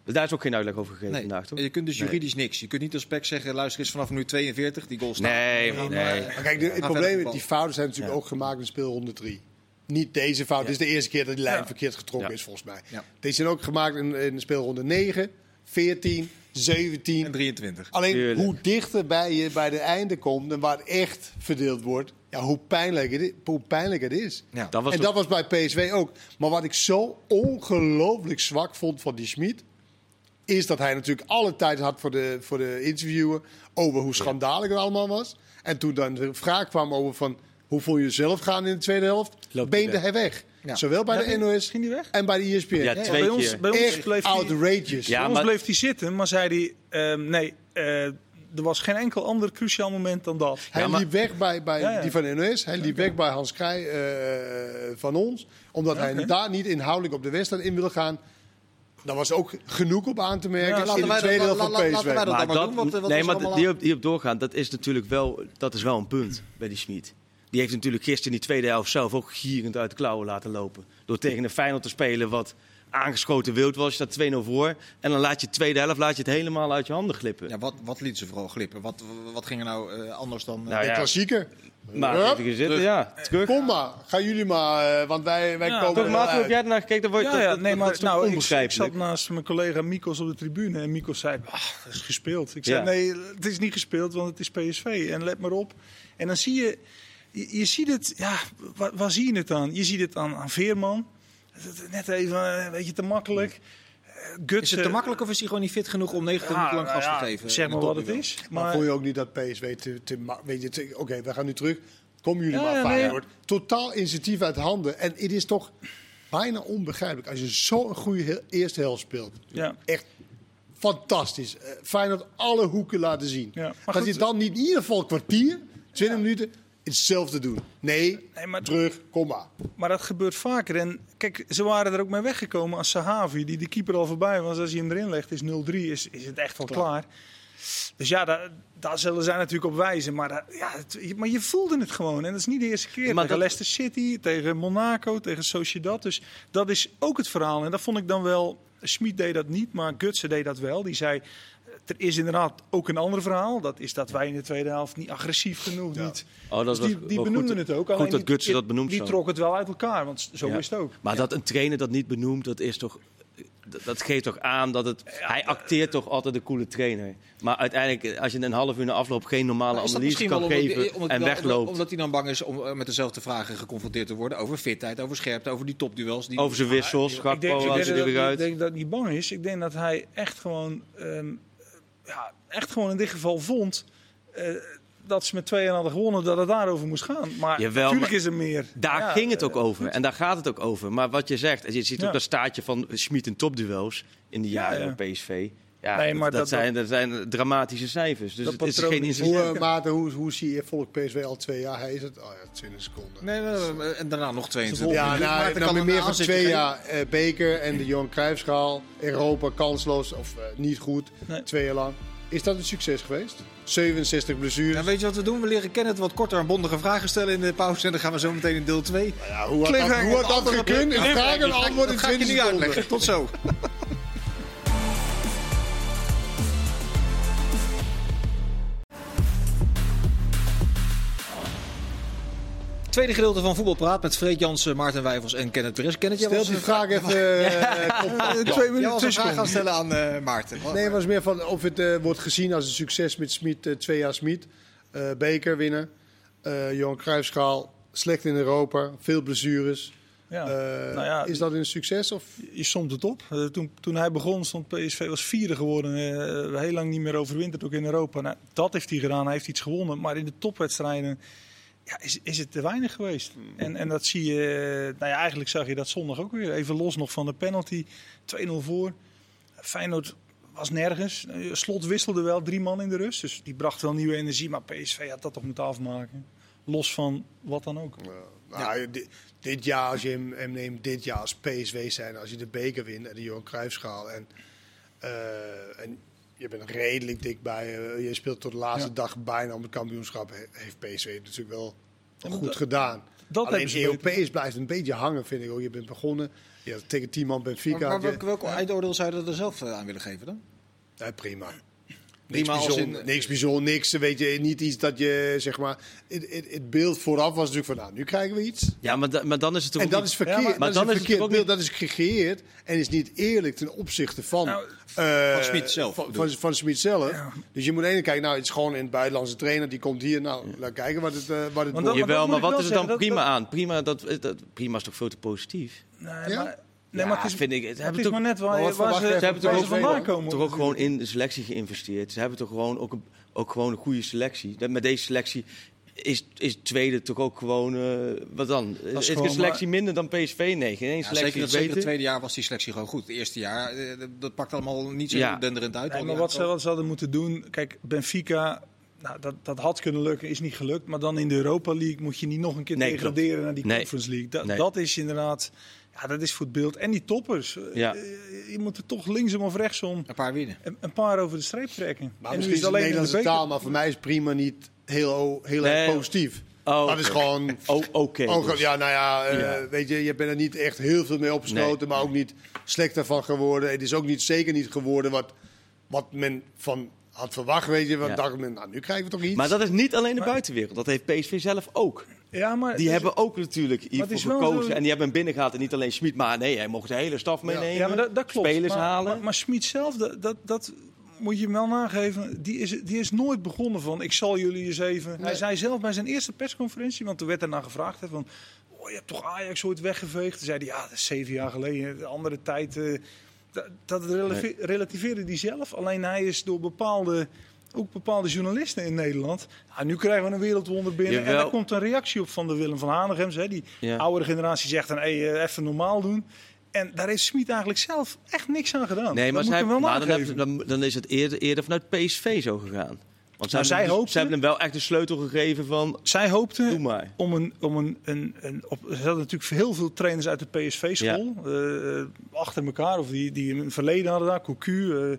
Speaker 4: daar is ook geen uitleg over gegeven
Speaker 1: Nee,
Speaker 4: vandaag, toch?
Speaker 1: je kunt dus juridisch niks. Je kunt niet als PEC zeggen, luister eens, vanaf nu 42, die goal staat.
Speaker 4: Nee, nee.
Speaker 2: Maar kijk, de- het
Speaker 1: verder
Speaker 2: probleem is,
Speaker 1: voetballen.
Speaker 2: die fouten zijn natuurlijk ook gemaakt in speelronde 3. Niet deze fout. Dit is de eerste keer dat die lijn
Speaker 3: Ja.
Speaker 2: verkeerd getrokken
Speaker 4: Ja.
Speaker 2: is, volgens mij.
Speaker 1: Ja.
Speaker 2: Deze zijn ook gemaakt in, in speelronde 9, 14, 17.
Speaker 1: En 23.
Speaker 2: Alleen
Speaker 4: Tuurlijk.
Speaker 2: hoe dichter bij je bij de einde komt en waar het echt verdeeld wordt, ja, hoe, pijnlijk het is, hoe pijnlijk het is.
Speaker 1: Ja.
Speaker 4: Dat was
Speaker 2: en dat was bij PSV ook. Maar wat ik zo ongelooflijk zwak vond van die Schmid, is dat hij natuurlijk alle tijd had voor de, voor de interviewen over hoe schandalig het allemaal was. En toen dan de vraag kwam over van hoe voel je jezelf gaan in de tweede helft,
Speaker 4: hij
Speaker 2: beende
Speaker 4: weg.
Speaker 2: hij weg.
Speaker 1: Ja.
Speaker 2: Bij
Speaker 3: Ja,
Speaker 2: de
Speaker 3: ging-
Speaker 2: NOS
Speaker 3: ging hij weg?
Speaker 2: en bij de E ESPN.
Speaker 4: Ja, twee
Speaker 3: bij
Speaker 4: keer.
Speaker 3: ons, bij ons
Speaker 2: Echt
Speaker 3: bleef die-
Speaker 2: outrageous.
Speaker 4: Ja,
Speaker 3: Ja, ons
Speaker 4: maar-
Speaker 3: bleef hij zitten, maar zei hij: ehm, nee, eh, er was geen enkel ander cruciaal moment dan dat.
Speaker 2: Hij
Speaker 4: Ja, maar-
Speaker 2: liep weg bij, bij
Speaker 3: Ja, ja.
Speaker 2: die van NOS. Hij liep weg bij Hans Krij eh, van ons. Omdat hij
Speaker 3: oké.
Speaker 2: daar niet inhoudelijk op de wedstrijd in wilde gaan. Daar was ook genoeg op aan te merken.
Speaker 3: Ja,
Speaker 2: in
Speaker 1: laten
Speaker 2: de
Speaker 1: wij dat-
Speaker 2: tweede helft
Speaker 1: la-
Speaker 2: van
Speaker 1: la- laten wij
Speaker 2: PSV.
Speaker 1: dat-
Speaker 4: Maar
Speaker 1: dan maar doen, want, eh, wat
Speaker 4: nee,
Speaker 1: is
Speaker 4: maar
Speaker 1: allemaal
Speaker 4: die op, die op doorgaan, dat is natuurlijk wel, dat is wel een punt bij die Schmid. Die heeft natuurlijk gisteren in die tweede helft zelf ook gierend uit de klauwen laten lopen. Door tegen een Feyenoord te spelen wat aangeschoten wild was. Je staat 2-0 voor. En dan laat je tweede helft laat je het helemaal uit je handen glippen.
Speaker 1: Ja, wat, wat liet ze vooral glippen? Wat, wat ging er nou eh, anders dan... eh,
Speaker 4: Nou,
Speaker 2: De
Speaker 4: ja.
Speaker 2: klassieker.
Speaker 4: Maar
Speaker 2: Hup,
Speaker 4: even zitten,
Speaker 3: Dus
Speaker 4: ja. Terug.
Speaker 2: Kom maar, gaan jullie maar, eh, want wij, wij
Speaker 3: Ja,
Speaker 2: komen
Speaker 4: Toch,
Speaker 2: er wel
Speaker 4: Maarten, heb
Speaker 2: uit.
Speaker 4: jij ernaar gekeken? Dan word je
Speaker 3: Ja,
Speaker 4: toch-
Speaker 3: ja,
Speaker 4: dat-
Speaker 3: nee,
Speaker 4: dat-
Speaker 3: maar
Speaker 4: dat is toch
Speaker 3: nou, ik, ik zat
Speaker 4: onbegrijpelijk.
Speaker 3: naast mijn collega Mikos op de tribune. En Mikos zei, "Ah, dat is gespeeld. Ik zei,
Speaker 4: Ja.
Speaker 3: nee, het is niet gespeeld, want het is PSV. En let maar op. En dan zie je, je, je ziet het, ja, waar, waar zie je het aan? Je ziet het aan, aan Veerman. Dat- dat- Net even een beetje te makkelijk. Eh, Guts
Speaker 1: Is het te makkelijk of is hij gewoon niet fit genoeg om 90 minuten lang gas te geven?
Speaker 3: Zeg
Speaker 1: in de
Speaker 3: maar wat het
Speaker 1: topniveau?
Speaker 3: is.
Speaker 2: Maar,
Speaker 3: Maar,
Speaker 2: voel je ook niet dat PSV te... te ma- weet je, te- Oké, we gaan nu terug. Komen jullie
Speaker 3: Ja,
Speaker 2: maar,
Speaker 3: ja,
Speaker 2: Feyenoord. Totaal initiatief uit handen. En het is toch bijna onbegrijpelijk als je zo'n goede he- eerste helft speelt.
Speaker 3: ja.
Speaker 2: Echt fantastisch. Eh, Feyenoord alle hoeken laten zien.
Speaker 3: Ja, maar
Speaker 2: dat
Speaker 3: goed,
Speaker 2: je dan niet in ieder geval een kwartier, 20 minuten, hetzelfde doen. Nee,
Speaker 3: Nee, maar-
Speaker 2: terug, kom maar.
Speaker 3: Maar dat gebeurt vaker. En kijk, ze waren er ook mee weggekomen als Sahavi, die de keeper al voorbij was. Als hij hem erin legt, is 0-3, is, is het echt al klaar. Dus ja, daar, daar zullen zij natuurlijk op wijzen. Maar, daar- ja, het- maar je voelde het gewoon. En dat is niet de eerste keer.
Speaker 4: Maar
Speaker 3: tegen
Speaker 4: dat-
Speaker 3: Leicester City, tegen Monaco, tegen Sociedad. Dus dat is ook het verhaal. En dat vond ik dan wel... Smit deed dat niet, maar Gutsen deed dat wel. Die zei, eh, er is inderdaad ook een ander verhaal. Dat is dat wij in de tweede helft niet agressief genoeg,
Speaker 2: Ja.
Speaker 3: niet...
Speaker 4: Oh, dat
Speaker 3: Dus
Speaker 4: was
Speaker 3: die die
Speaker 4: wel goed
Speaker 3: benoemden
Speaker 4: dat-
Speaker 3: het ook.
Speaker 4: Goed
Speaker 3: alleen
Speaker 4: dat
Speaker 3: die-
Speaker 4: Gutsen
Speaker 3: die-
Speaker 4: dat benoemd
Speaker 3: Die
Speaker 4: zo.
Speaker 3: trok het wel uit elkaar, want zo
Speaker 4: Ja.
Speaker 3: is het ook.
Speaker 4: Maar dat een trainer dat niet benoemt, dat is toch. Dat, dat geeft toch aan dat het. Hij acteert toch altijd de coole trainer. Maar uiteindelijk, als je in een half uur na afloop geen normale
Speaker 1: Maar is dat
Speaker 4: analyse
Speaker 1: misschien
Speaker 4: kan
Speaker 1: wel omdat-
Speaker 4: geven
Speaker 1: omdat-
Speaker 4: en
Speaker 1: omdat-
Speaker 4: wegloopt.
Speaker 1: Omdat hij dan bang is om eh, met dezelfde vragen geconfronteerd te worden. Over fitheid, over scherpte, over die topduels. Die...
Speaker 4: over zijn wissels,
Speaker 3: Ik denk,
Speaker 4: Gakpo,
Speaker 3: ik
Speaker 4: haalt
Speaker 3: denk
Speaker 4: ze er
Speaker 3: dat,
Speaker 4: weer
Speaker 3: ik
Speaker 4: uit.
Speaker 3: denk dat het niet bang is. Ik denk dat hij echt gewoon, ehm, ja, echt gewoon in dit geval vond eh, dat ze met tweeën hadden gewonnen, dat het daarover moest gaan. Maar
Speaker 4: Jawel,
Speaker 3: natuurlijk
Speaker 4: maar
Speaker 3: is er meer.
Speaker 4: Daar
Speaker 3: Ja,
Speaker 4: ging het
Speaker 3: eh,
Speaker 4: ook over. En daar gaat het ook over. Maar wat je zegt, en je ziet
Speaker 3: Ja.
Speaker 4: ook dat staartje van Schmid in topduels in de
Speaker 3: Ja,
Speaker 4: jaren
Speaker 3: ja.
Speaker 4: bij PSV. Ja,
Speaker 3: Nee,
Speaker 4: dat-
Speaker 3: maar
Speaker 4: dat,
Speaker 3: dat-
Speaker 4: zijn, dat zijn dramatische cijfers. Dus
Speaker 3: Dat
Speaker 4: het is
Speaker 3: patroon
Speaker 4: geen
Speaker 3: is-
Speaker 4: incident.
Speaker 2: Hoe, eh, Maarten, hoe, hoe zie je volk PSV al twee jaar? Hij is het, oh ja, 20 seconden.
Speaker 1: Nee, nee, nee, nee, en daarna nog 22.
Speaker 2: Ja, nou,
Speaker 1: Maar
Speaker 2: na,
Speaker 1: het
Speaker 2: na
Speaker 1: kan een
Speaker 2: meer van
Speaker 1: aanzetje
Speaker 2: twee
Speaker 1: geven.
Speaker 2: jaar eh, beker en de Johan Cruijffschaal. Europa kansloos of eh, niet goed,
Speaker 3: Nee.
Speaker 2: twee jaar lang. Is dat een succes geweest? 67 blessures.
Speaker 1: Ja, Nou, weet je wat we doen? We leren Kenneth wat korter en bondige vragen stellen in de pauze. En dan gaan we zo meteen in deel 2.
Speaker 2: Ja, hoe had dat, hoe had dat gekund? Een vraag en een antwoord in
Speaker 1: Dat ga ik
Speaker 2: 20
Speaker 1: je nu
Speaker 2: seconden.
Speaker 1: uitleggen. Tot zo. Tweede gedeelte van Voetbalpraat met Freek Jansen, Maarten Wijvels en Kenneth Perez. Kenneth, jij
Speaker 2: Stel
Speaker 1: was
Speaker 2: die
Speaker 1: een
Speaker 2: vraag even eh, op.
Speaker 3: eh,
Speaker 2: Ja.
Speaker 1: jij
Speaker 3: Twee minuten
Speaker 1: was een vraag
Speaker 3: tussenkomen.
Speaker 1: gaan stellen aan eh, Maarten. Wat-
Speaker 2: Nee, het was meer van of het eh, wordt gezien als een succes met Smit, eh, twee jaar Smit. Eh, beker winnen, eh Johan Cruijffschaal, slecht in Europa, veel blessures.
Speaker 3: Ja.
Speaker 2: Eh,
Speaker 3: nou ja,
Speaker 2: is dat een succes? Of?
Speaker 3: je somt het op. Eh, toen, toen hij begon stond PSV was vierde geworden. eh, heel lang niet meer overwinterd, ook in Europa. Nou, dat heeft hij gedaan. Hij heeft iets gewonnen. Maar in de topwedstrijden ja, is, is het te weinig geweest. En, en dat zie je... eh, Nou ja, eigenlijk zag je dat zondag ook weer. Even los nog van de penalty. 2-0 voor. Feyenoord was nergens. Eh, Slot wisselde wel drie man in de rust. Dus die bracht wel nieuwe energie. Maar PSV had dat toch moeten afmaken. Los van wat dan ook.
Speaker 2: Nou, di- dit jaar, als je hem, hem neemt, dit jaar als PSV zijn, als je de beker wint en de Johan Cruijffschaal. En, eh, en je bent er redelijk dik bij, eh, je speelt tot de laatste
Speaker 3: Ja.
Speaker 2: dag bijna om het kampioenschap, he- heeft PSV natuurlijk wel
Speaker 3: maar
Speaker 2: goed
Speaker 3: dat-
Speaker 2: gedaan.
Speaker 3: dat
Speaker 2: Alleen
Speaker 3: hebben ze
Speaker 2: Europees blijft een beetje hangen, vind ik ook. Je bent begonnen, je had tegen tien man Benfica.
Speaker 1: Maar, maar
Speaker 2: had eh, je-
Speaker 1: welk, welk eindoordeel zou je er zelf eh, aan willen geven dan?
Speaker 2: Ja, prima. Niks
Speaker 1: Prima als
Speaker 2: bijzonder,
Speaker 1: in-
Speaker 2: niks bijzonder, niks. Weet je, niet iets dat je, zeg maar... Het, het, het beeld vooraf was natuurlijk van, nou, nu krijgen we iets.
Speaker 4: Ja, maar, da- maar dan is het toch
Speaker 2: En
Speaker 4: ook
Speaker 2: dat
Speaker 4: niet-
Speaker 2: is verkeerd.
Speaker 3: Ja, maar-
Speaker 4: maar
Speaker 2: dat is
Speaker 4: dan
Speaker 2: een
Speaker 4: is het
Speaker 2: verkeerd beeld.
Speaker 4: ook
Speaker 2: Dat is gecreëerd en is niet eerlijk ten opzichte van...
Speaker 3: Nou,
Speaker 2: eh,
Speaker 1: van Smit zelf,
Speaker 2: Van,
Speaker 1: bedoel
Speaker 2: van, van Smit zelf. Dus je moet aan de ene kijken, nou, het is gewoon een buitenlandse trainer. Die komt hier, nou, laten kijken wat het, eh, wat het
Speaker 3: Want
Speaker 2: wordt.
Speaker 3: dat-
Speaker 4: Jawel,
Speaker 3: moet
Speaker 4: maar
Speaker 3: ik
Speaker 4: wat
Speaker 3: wel
Speaker 4: is er dan
Speaker 3: zeggen, dat-
Speaker 4: prima
Speaker 3: dat-
Speaker 4: aan? Prima, dat, eh, dat, prima is toch veel te positief?
Speaker 3: Nee,
Speaker 2: Ja?
Speaker 3: maar, nee, maar het is,
Speaker 4: vind ik- het
Speaker 3: het
Speaker 4: hebben
Speaker 3: is
Speaker 4: toch-
Speaker 3: maar net waar,
Speaker 2: Maar
Speaker 3: je-
Speaker 2: wat
Speaker 3: waar ze,
Speaker 2: verwacht je
Speaker 3: waar
Speaker 4: Ze hebben toch
Speaker 3: ze
Speaker 4: ook,
Speaker 3: vandaan
Speaker 2: Waar
Speaker 3: komen.
Speaker 4: toch ook gewoon in de selectie geïnvesteerd. Ze hebben toch gewoon ook een, ook gewoon een goede selectie. Dat- Met deze selectie is, is tweede toch ook gewoon. eh, wat dan? Is, is
Speaker 3: gewoon
Speaker 4: een selectie minder dan PSV? Nee, geen één
Speaker 1: Ja,
Speaker 4: selectie
Speaker 1: zeker,
Speaker 4: is
Speaker 1: dat, zeker
Speaker 4: beter.
Speaker 1: het tweede jaar was die selectie gewoon goed. Het eerste jaar, eh, dat- dat pakt allemaal niet zo
Speaker 4: Ja.
Speaker 1: denderend uit.
Speaker 3: Nee,
Speaker 1: Al
Speaker 3: maar
Speaker 1: die
Speaker 3: wat ze,
Speaker 1: aantallen.
Speaker 3: wat ze hadden moeten doen. Kijk, Benfica. Nou, dat, dat had kunnen lukken, is niet gelukt. Maar dan in de Europa League moet je niet nog een keer
Speaker 4: Nee,
Speaker 3: degraderen
Speaker 4: klopt.
Speaker 3: naar die
Speaker 4: Nee.
Speaker 3: Conference League. Dat,
Speaker 4: Nee.
Speaker 3: dat is inderdaad. Ja, dat is voor het beeld. En die toppers. Eh,
Speaker 4: Ja.
Speaker 3: eh, Je moet er toch linksom of rechtsom
Speaker 1: Een paar winnen.
Speaker 3: een, een paar over de streep trekken.
Speaker 2: Maar
Speaker 3: en
Speaker 2: misschien is het
Speaker 3: in de
Speaker 2: Nederlandse
Speaker 3: beker.
Speaker 2: taal, maar voor mij is prima niet heel, heel erg
Speaker 4: Nee.
Speaker 2: positief.
Speaker 4: Oh,
Speaker 2: Dat is gewoon...
Speaker 4: oh, oké.
Speaker 2: Oh,
Speaker 4: dus.
Speaker 2: ja, nou ja, eh,
Speaker 4: Ja.
Speaker 2: weet je, je bent er niet echt heel veel mee opgesloten,
Speaker 4: Nee.
Speaker 2: maar ook niet slecht daarvan geworden. Het is ook niet, zeker niet geworden wat, wat men van had verwacht, weet je. Want
Speaker 4: Ja.
Speaker 2: dacht men, nou, nu krijgen we toch iets.
Speaker 4: Maar dat is niet alleen de buitenwereld. Dat heeft PSV zelf ook.
Speaker 3: Ja, maar dus-
Speaker 4: Die hebben ook natuurlijk hiervoor
Speaker 3: is wel
Speaker 4: gekozen.
Speaker 3: zo-
Speaker 4: En die hebben hem binnengehaald. En niet alleen Schmid, maar nee, hij mocht de hele staf meenemen.
Speaker 3: ja, maar dat, dat klopt.
Speaker 4: Spelers
Speaker 3: maar,
Speaker 4: halen.
Speaker 3: Maar, maar Schmid zelf, dat, dat, dat moet je hem wel nageven. Die is, die is nooit begonnen van, ik zal jullie eens even... Hij zei zelf bij zijn eerste persconferentie, want er werd daarna gevraagd... Hè, van, oh, je hebt toch Ajax ooit weggeveegd? Toen zei hij, ja, dat is zeven jaar geleden, de andere tijd... eh, dat dat releve- relativeerde hij zelf. Alleen hij is door bepaalde... Ook bepaalde journalisten in Nederland. Nou, nu krijgen we een wereldwonder binnen. En
Speaker 4: Jawel.
Speaker 3: daar komt een reactie op van de Willem van Hanegems. Hè, die
Speaker 4: Ja.
Speaker 3: oudere generatie zegt dan hey, eh, even normaal doen. En daar heeft Smit eigenlijk zelf echt niks aan gedaan.
Speaker 4: Nee, maar,
Speaker 3: Oh, dat moet
Speaker 4: zij,
Speaker 3: ik hem wel
Speaker 4: maar dan,
Speaker 3: nageven.
Speaker 4: hebben- dan, dan is het eerder, eerder vanuit PSV zo gegaan. Want zij,
Speaker 3: Nou, zij
Speaker 4: hebben,
Speaker 3: hoopten-
Speaker 4: zij hebben hem wel echt de sleutel gegeven van...
Speaker 3: Zij
Speaker 4: Doe
Speaker 3: hoopte
Speaker 4: maar.
Speaker 3: om een, om een, een, een op, ze hadden natuurlijk heel veel trainers uit de PSV-school eh, achter elkaar, of die, die een verleden hadden daar, Cocu, eh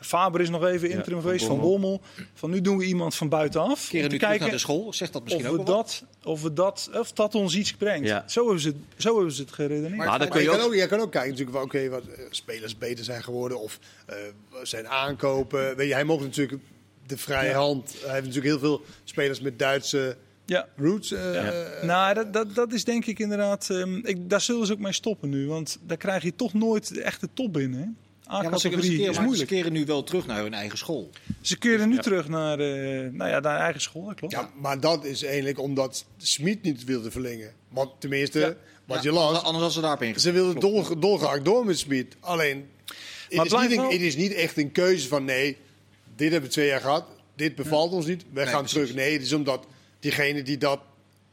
Speaker 3: Faber is nog even interim
Speaker 4: Van
Speaker 3: geweest, van Bommel. Van nu doen we iemand van buitenaf
Speaker 1: Keren
Speaker 3: om
Speaker 1: nu
Speaker 3: te
Speaker 1: terug naar
Speaker 3: kijken
Speaker 1: de school, zegt dat
Speaker 3: of
Speaker 1: misschien ook
Speaker 3: we
Speaker 1: wel wat.
Speaker 3: dat, of we dat, of dat ons iets brengt.
Speaker 4: Ja.
Speaker 3: Zo, hebben ze, het- zo hebben ze het geredeneerd.
Speaker 4: Maar dan
Speaker 2: Maar
Speaker 4: kun
Speaker 2: je,
Speaker 4: je
Speaker 2: kan
Speaker 4: ook...
Speaker 2: ook, je kan ook kijken natuurlijk, van, oké, wat eh, spelers beter zijn geworden of eh, zijn aankopen. Weet je, hij mocht natuurlijk de vrije hand. Hij heeft natuurlijk heel veel spelers met Duitse
Speaker 3: ja.
Speaker 2: roots. eh,
Speaker 3: Nou, dat, dat, dat is denk ik inderdaad. ehm, ik, daar zullen ze ook mee stoppen nu. Want daar krijg je toch nooit de echte top binnen. hè.
Speaker 1: Ja, want ze,
Speaker 3: A-categorie
Speaker 1: keren,
Speaker 3: is
Speaker 1: maar ze
Speaker 3: moeilijk.
Speaker 1: keren nu wel terug naar hun eigen school.
Speaker 3: Ze keren nu terug naar, eh, nou ja, naar eigen school, dat klopt.
Speaker 2: Ja, maar dat is eigenlijk omdat Smit niet wilde verlengen. Want tenminste,
Speaker 3: Ja.
Speaker 2: wat
Speaker 1: Ja,
Speaker 2: je las,
Speaker 1: Anders hadden ze daarop ingezet.
Speaker 2: ze wilden dolge- dolgraag door met Smit. Alleen, het is,
Speaker 3: blijft
Speaker 2: niet een,
Speaker 3: wel-
Speaker 2: het is niet echt een keuze van nee, dit hebben we twee jaar gehad, dit bevalt ons niet, wij
Speaker 1: Nee,
Speaker 2: gaan
Speaker 1: precies.
Speaker 2: terug. Nee, het is omdat diegene die dat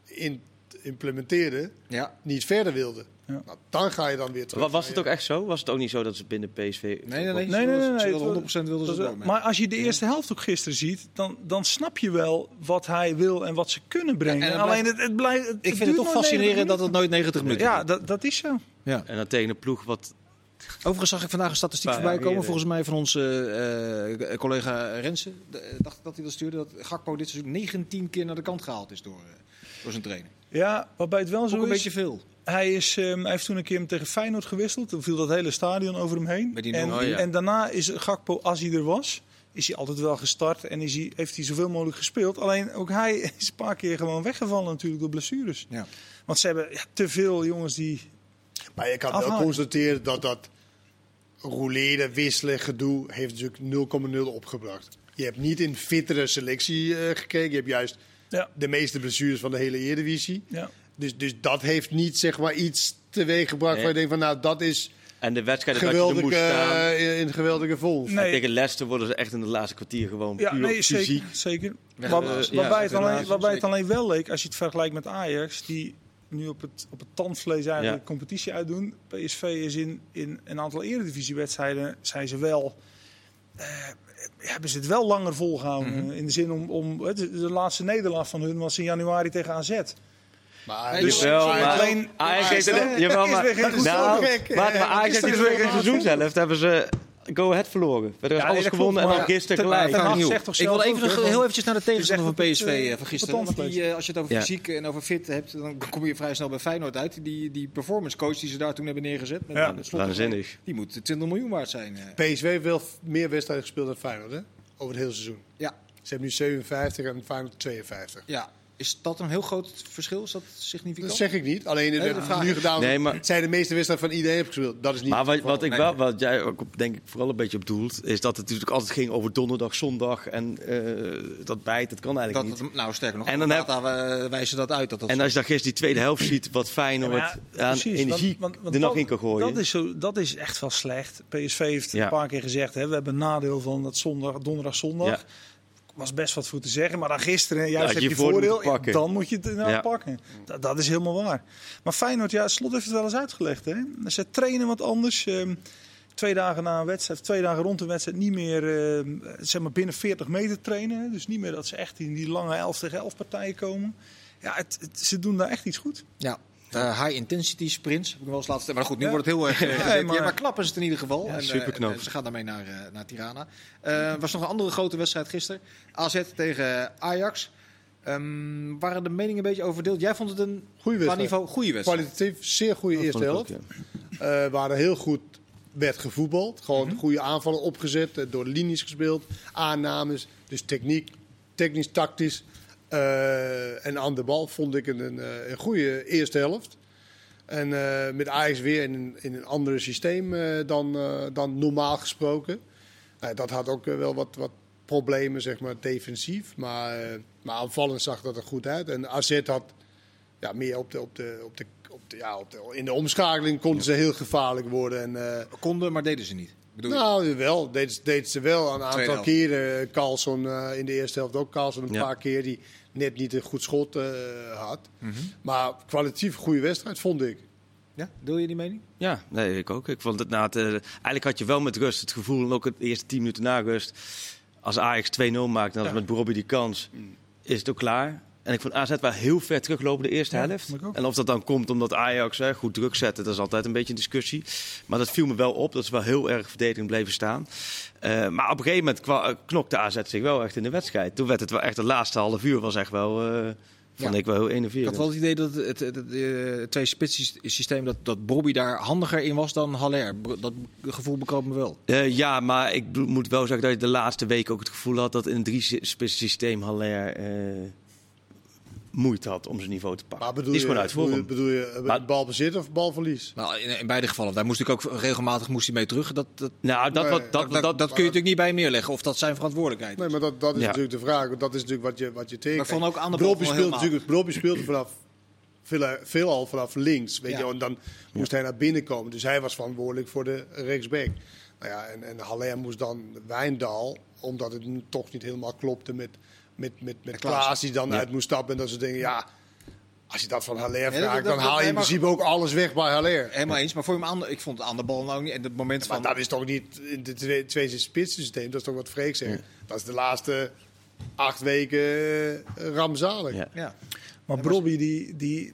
Speaker 2: in, implementeerde,
Speaker 1: Ja.
Speaker 2: niet verder wilde.
Speaker 3: Ja.
Speaker 2: Nou, dan ga je dan weer terug.
Speaker 4: Wa- Was het ook echt zo? Was het ook niet zo dat ze binnen PSV...
Speaker 1: Nee, nee, nee.
Speaker 3: Nee, nee, nee. nee,
Speaker 1: Ze
Speaker 3: het
Speaker 1: wilden
Speaker 3: was-
Speaker 1: 100% wilden ze het
Speaker 3: dat was-
Speaker 1: wel mee.
Speaker 3: Maar als je de eerste helft ook gisteren ziet, dan, dan snap je wel wat hij wil en wat ze kunnen brengen.
Speaker 1: en het
Speaker 3: Alleen
Speaker 1: blijft-
Speaker 3: het, het blijft.
Speaker 1: Ik vind het toch fascinerend dat het nooit 90 minuten
Speaker 3: Ja, dat, dat is zo.
Speaker 4: En dan tegen een ploeg wat...
Speaker 1: Overigens zag ik vandaag een statistiek
Speaker 4: Paar
Speaker 1: voorbij
Speaker 4: jaar
Speaker 1: komen,
Speaker 4: eerder.
Speaker 1: volgens mij van onze eh, eh, collega Rensen. De- eh, dacht ik dat hij dat stuurde, dat Gakpo dit seizoen 19 keer naar de kant gehaald is door, eh, door zijn trainer.
Speaker 3: Ja, waarbij het wel
Speaker 1: Dat is
Speaker 3: zo
Speaker 1: ook een
Speaker 3: is.
Speaker 1: beetje veel.
Speaker 3: Hij, is, ehm, hij heeft toen een keer hem tegen Feyenoord gewisseld. Toen viel dat hele stadion over hem heen.
Speaker 1: Met die
Speaker 3: en,
Speaker 4: nul, ja.
Speaker 3: en daarna is Gakpo, als hij er was, is hij altijd wel gestart. En is hij, heeft hij zoveel mogelijk gespeeld. Alleen ook hij [LAUGHS] is een paar keer gewoon weggevallen natuurlijk door blessures.
Speaker 1: Ja.
Speaker 3: Want ze hebben ja, te veel jongens die...
Speaker 2: Maar je kan wel
Speaker 3: Afhaken.
Speaker 2: constateren dat dat rouleren, wisselen, gedoe heeft natuurlijk 0,0 opgebracht. Je hebt niet in fittere selectie eh, gekeken. Je hebt juist
Speaker 3: Ja,
Speaker 2: de meeste blessures van de hele Eredivisie.
Speaker 3: ja.
Speaker 2: Dus, dus dat heeft niet zeg maar iets teweeg gebracht
Speaker 4: Nee.
Speaker 2: waar je denkt van nou dat is
Speaker 4: En de wedstrijd dat je er
Speaker 2: geweldig,
Speaker 4: moest staan.
Speaker 2: eh, in- in geweldige vol.
Speaker 3: Nee.
Speaker 4: En tegen Leicester worden ze echt in het laatste kwartier gewoon
Speaker 3: ja
Speaker 4: puur
Speaker 3: nee,
Speaker 4: fysiek.
Speaker 3: zeker. zeker.
Speaker 1: Weg-
Speaker 3: Waar-
Speaker 1: eh, ja,
Speaker 3: waarbij het alleen,
Speaker 1: federatie,
Speaker 3: waarbij het
Speaker 1: zeker.
Speaker 3: alleen wel leek, als je het vergelijkt met Ajax... die nu op het, op het tandvlees eigenlijk
Speaker 4: Ja.
Speaker 3: competitie uitdoen. PSV is in, in een aantal eredivisiewedstrijden zijn ze wel... eh, hebben ze het wel langer volgehouden.
Speaker 4: Mhm.
Speaker 3: eh, In de zin om... om hè, de, de laatste nederlaag van hun was in januari tegen AZ.
Speaker 2: Maar,
Speaker 1: Dus-
Speaker 4: Jawel,
Speaker 1: Ajax-
Speaker 4: maar
Speaker 3: Alleen-
Speaker 4: Ajax heeft
Speaker 2: Ajax-
Speaker 4: het- jawel,
Speaker 3: is weer
Speaker 4: maar-
Speaker 3: geen goed
Speaker 4: Nou,
Speaker 2: gek, hè.
Speaker 4: maar- maar Ajax heeft
Speaker 2: Gisteren
Speaker 4: weer in het
Speaker 2: weer
Speaker 4: seizoenshelft hebben ze Go Ahead verloren. Verder is
Speaker 3: Ja, nee,
Speaker 4: alles
Speaker 3: dat
Speaker 4: gewonnen en
Speaker 3: klopt,
Speaker 4: dan
Speaker 3: maar-
Speaker 4: gisteren
Speaker 3: Ten-
Speaker 4: gelijk.
Speaker 3: Ten Hag
Speaker 1: Opnieuw.
Speaker 3: zegt toch
Speaker 1: ik wil
Speaker 3: zelf
Speaker 1: even,
Speaker 3: ook,
Speaker 1: nog
Speaker 3: hè,
Speaker 1: heel
Speaker 3: van-
Speaker 1: eventjes naar de tegenstander van
Speaker 3: echt op
Speaker 1: PSV
Speaker 3: het, eh,
Speaker 1: eh, van gisteren.
Speaker 3: op het
Speaker 1: Want die, eh, als je het over
Speaker 4: Ja.
Speaker 1: fysiek en over fit hebt, dan kom je vrij snel bij Feyenoord uit. Die, die performance coach die ze daar toen hebben neergezet, met
Speaker 3: Ja.
Speaker 1: eh, slot,
Speaker 4: Waanzinnig.
Speaker 1: die moet 20 miljoen waard zijn. eh.
Speaker 2: PSV heeft wel f- meer wedstrijden gespeeld dan Feyenoord hè? over het hele seizoen.
Speaker 1: Ja.
Speaker 2: Ze hebben nu 57 en Feyenoord 52.
Speaker 1: ja, is dat een heel groot verschil? Is dat significant?
Speaker 2: Dat zeg ik niet. Alleen het
Speaker 1: Nee,
Speaker 2: werd
Speaker 1: dat vraag
Speaker 2: nu
Speaker 1: ik.
Speaker 2: gedaan.
Speaker 4: Nee, maar-
Speaker 2: Het zijn de meeste wedstrijden van iedereen heeft gespeeld. Dat is niet.
Speaker 4: Maar wat,
Speaker 2: het
Speaker 4: wat,
Speaker 2: geval.
Speaker 4: ik wel, wat jij ook op- denk ik vooral een beetje op doelt, is dat het natuurlijk altijd ging over donderdag, zondag en eh, dat bijt, dat kan eigenlijk
Speaker 1: Dat,
Speaker 4: niet.
Speaker 1: dat- nou, sterker nog,
Speaker 4: En
Speaker 1: en
Speaker 4: dan
Speaker 1: dan data eh, wijzen dat uit. Dat dat
Speaker 4: En als je dan gisteren die tweede helft ziet, wat Feyenoord
Speaker 3: Ja, maar ja,
Speaker 4: aan
Speaker 3: precies,
Speaker 4: energie
Speaker 3: want- want- want
Speaker 4: er nog
Speaker 3: dat-
Speaker 4: in kan gooien.
Speaker 3: Dat is, zo, dat is echt wel slecht. PSV heeft
Speaker 4: Ja.
Speaker 3: een paar keer gezegd, hè, we hebben een nadeel van dat zondag, donderdag, zondag.
Speaker 4: Ja.
Speaker 3: Was best wat voor te zeggen, maar dan gisteren, juist
Speaker 4: had
Speaker 3: heb
Speaker 4: je
Speaker 3: je,
Speaker 4: voordeel
Speaker 3: voordeel,
Speaker 4: moeten
Speaker 3: ja,
Speaker 4: pakken.
Speaker 3: dan moet je het nou
Speaker 4: Ja.
Speaker 3: pakken. Dat, dat is helemaal waar. Maar Feyenoord, ja, Slot heeft het wel eens uitgelegd. Hè? Ze trainen wat anders. ehm, twee dagen na een wedstrijd, twee dagen rond een wedstrijd, niet meer ehm, zeg maar binnen 40 meter trainen. hè. Dus niet meer dat ze echt in die lange 11 tegen 11 partijen komen. Ja, het, het- ze doen daar echt iets goed.
Speaker 1: Ja. eh, high intensity sprints heb ik wel eens laatst. Maar goed, nu
Speaker 3: Ja.
Speaker 1: wordt het heel erg. [LAUGHS] eh,
Speaker 3: Ja,
Speaker 1: gezeten. ja, maar...
Speaker 3: maar-
Speaker 1: knap is het in ieder geval.
Speaker 4: Ja,
Speaker 1: en, eh,
Speaker 4: superknap.
Speaker 1: en, eh, ze gaan daarmee naar, eh, naar Tirana. Eh, Er was nog een andere grote wedstrijd gisteren. AZ tegen Ajax. Ehm, waren de meningen een beetje overdeeld? Jij vond het een
Speaker 2: Goede
Speaker 1: qua
Speaker 2: wedstrijd.
Speaker 1: niveau goede wedstrijd.
Speaker 2: Kwalitatief zeer goede
Speaker 4: Dat
Speaker 2: eerste
Speaker 4: vond ik
Speaker 2: helft.
Speaker 4: ook, ja.
Speaker 2: Eh, waar er heel goed werd gevoetbald. Gewoon goede aanvallen opgezet, eh, door linies gespeeld, aannames. Dus techniek, technisch, tactisch eh, en aan de bal vond ik een, een, eh, een goede eerste helft. En eh, met Ajax weer in, een- in een ander systeem eh, dan, eh, dan normaal gesproken. Nou, dat had ook eh, wel wat, wat problemen, zeg maar, defensief. Maar, eh, maar aanvallend zag dat er goed uit. En AZ had ja, meer op de, op de, op de, op de, ja, op de, in de omschakeling konden ze heel gevaarlijk worden. En, eh,
Speaker 1: Konden, maar deden ze niet. Ik Bedoel,
Speaker 2: nou, wel. Deed, deed ze wel een aantal
Speaker 1: helft.
Speaker 2: keren. Carlson eh, in de eerste helft ook. Carlson een
Speaker 4: Ja.
Speaker 2: paar keer die net niet een goed schot eh, had.
Speaker 4: Mhm.
Speaker 2: Maar kwalitatief goede wedstrijd, vond ik.
Speaker 1: ja, deel je die mening?
Speaker 4: Ja, nee, ik ook. Ik vond het, na het, eh, eigenlijk had je wel met rust het gevoel, en ook het eerste 10 minuten na rust, als Ajax 2-0 maakt, en als met Bobby die kans,
Speaker 3: Mm.
Speaker 4: is het ook klaar. En ik vond AZ wel heel ver teruglopen de eerste
Speaker 3: Ja,
Speaker 4: helft.
Speaker 3: vond ik ook.
Speaker 4: En of dat dan komt omdat Ajax hè, goed druk zette, dat is altijd een beetje een discussie. Maar dat viel me wel op, dat ze wel heel erg verdedigend bleven staan. Eh, maar op een gegeven moment kwa- eh, knokte AZ zich wel echt in de wedstrijd. Toen werd het wel echt, de laatste half uur was echt wel, eh, vond
Speaker 1: Ja.
Speaker 4: ik wel heel
Speaker 1: Ik
Speaker 4: enerverend.
Speaker 1: had wel het idee dat het, het, het, eh, twee spits systeem dat, dat Bobby daar handiger in was dan Haller. Br- Dat gevoel bekwam me wel.
Speaker 4: Eh, ja, maar ik bedo- moet wel zeggen dat je de laatste week ook het gevoel had dat in een drie-spits systeem Haller eh, moeite had om zijn niveau te pakken.
Speaker 2: Maar bedoel
Speaker 4: Die is
Speaker 2: je,
Speaker 4: gewoon uit
Speaker 2: bedoel je,
Speaker 4: vorm.
Speaker 2: bedoel je eh,
Speaker 4: Maar-
Speaker 2: balbezit of balverlies?
Speaker 1: Nou, in, in beide gevallen. Daar moest ik ook regelmatig moest hij mee terug. Dat, dat,
Speaker 4: Nou, dat,
Speaker 2: Nee,
Speaker 4: wat, dat,
Speaker 1: dat, dat,
Speaker 4: dat,
Speaker 1: kun je natuurlijk niet bij hem neerleggen. Of dat zijn verantwoordelijkheid is.
Speaker 2: Nee, maar dat, dat is
Speaker 4: Ja.
Speaker 2: natuurlijk de vraag. want Dat is natuurlijk wat je, wat je tekent.
Speaker 1: Maar ik vond ook aan de bal
Speaker 2: Brobbey
Speaker 1: wel
Speaker 2: speelt
Speaker 1: heel
Speaker 2: natuurlijk Brobbey speelde vanaf veel, veelal vanaf links, weet
Speaker 1: Ja.
Speaker 2: je, en dan moest hij naar binnen komen. Dus hij was verantwoordelijk voor de rechtsback. Nou ja, en, en Haller moest dan Wijndal, omdat het n- toch niet helemaal klopte met met met, met
Speaker 1: Klaas.
Speaker 2: Klaas die dan
Speaker 4: Ja.
Speaker 2: uit moest stappen en dat soort dingen. Ja, als je dat van Haller
Speaker 1: dat-
Speaker 2: vraagt,
Speaker 1: dat-
Speaker 2: dan
Speaker 1: dat-
Speaker 2: haal je
Speaker 1: nee,
Speaker 2: in
Speaker 1: maar-
Speaker 2: principe ook alles weg bij Haller.
Speaker 1: Helemaal eens. Maar voor hem aan, de- ik vond het aan de bal nou niet. En het moment
Speaker 2: Maar
Speaker 1: van.
Speaker 2: dat is toch niet in het twee, twee spitsensysteem, dat is toch wat Freek zegt. Dat is de laatste acht weken eh, rampzalig.
Speaker 4: Ja.
Speaker 1: ja.
Speaker 3: Maar Brobby, die, die,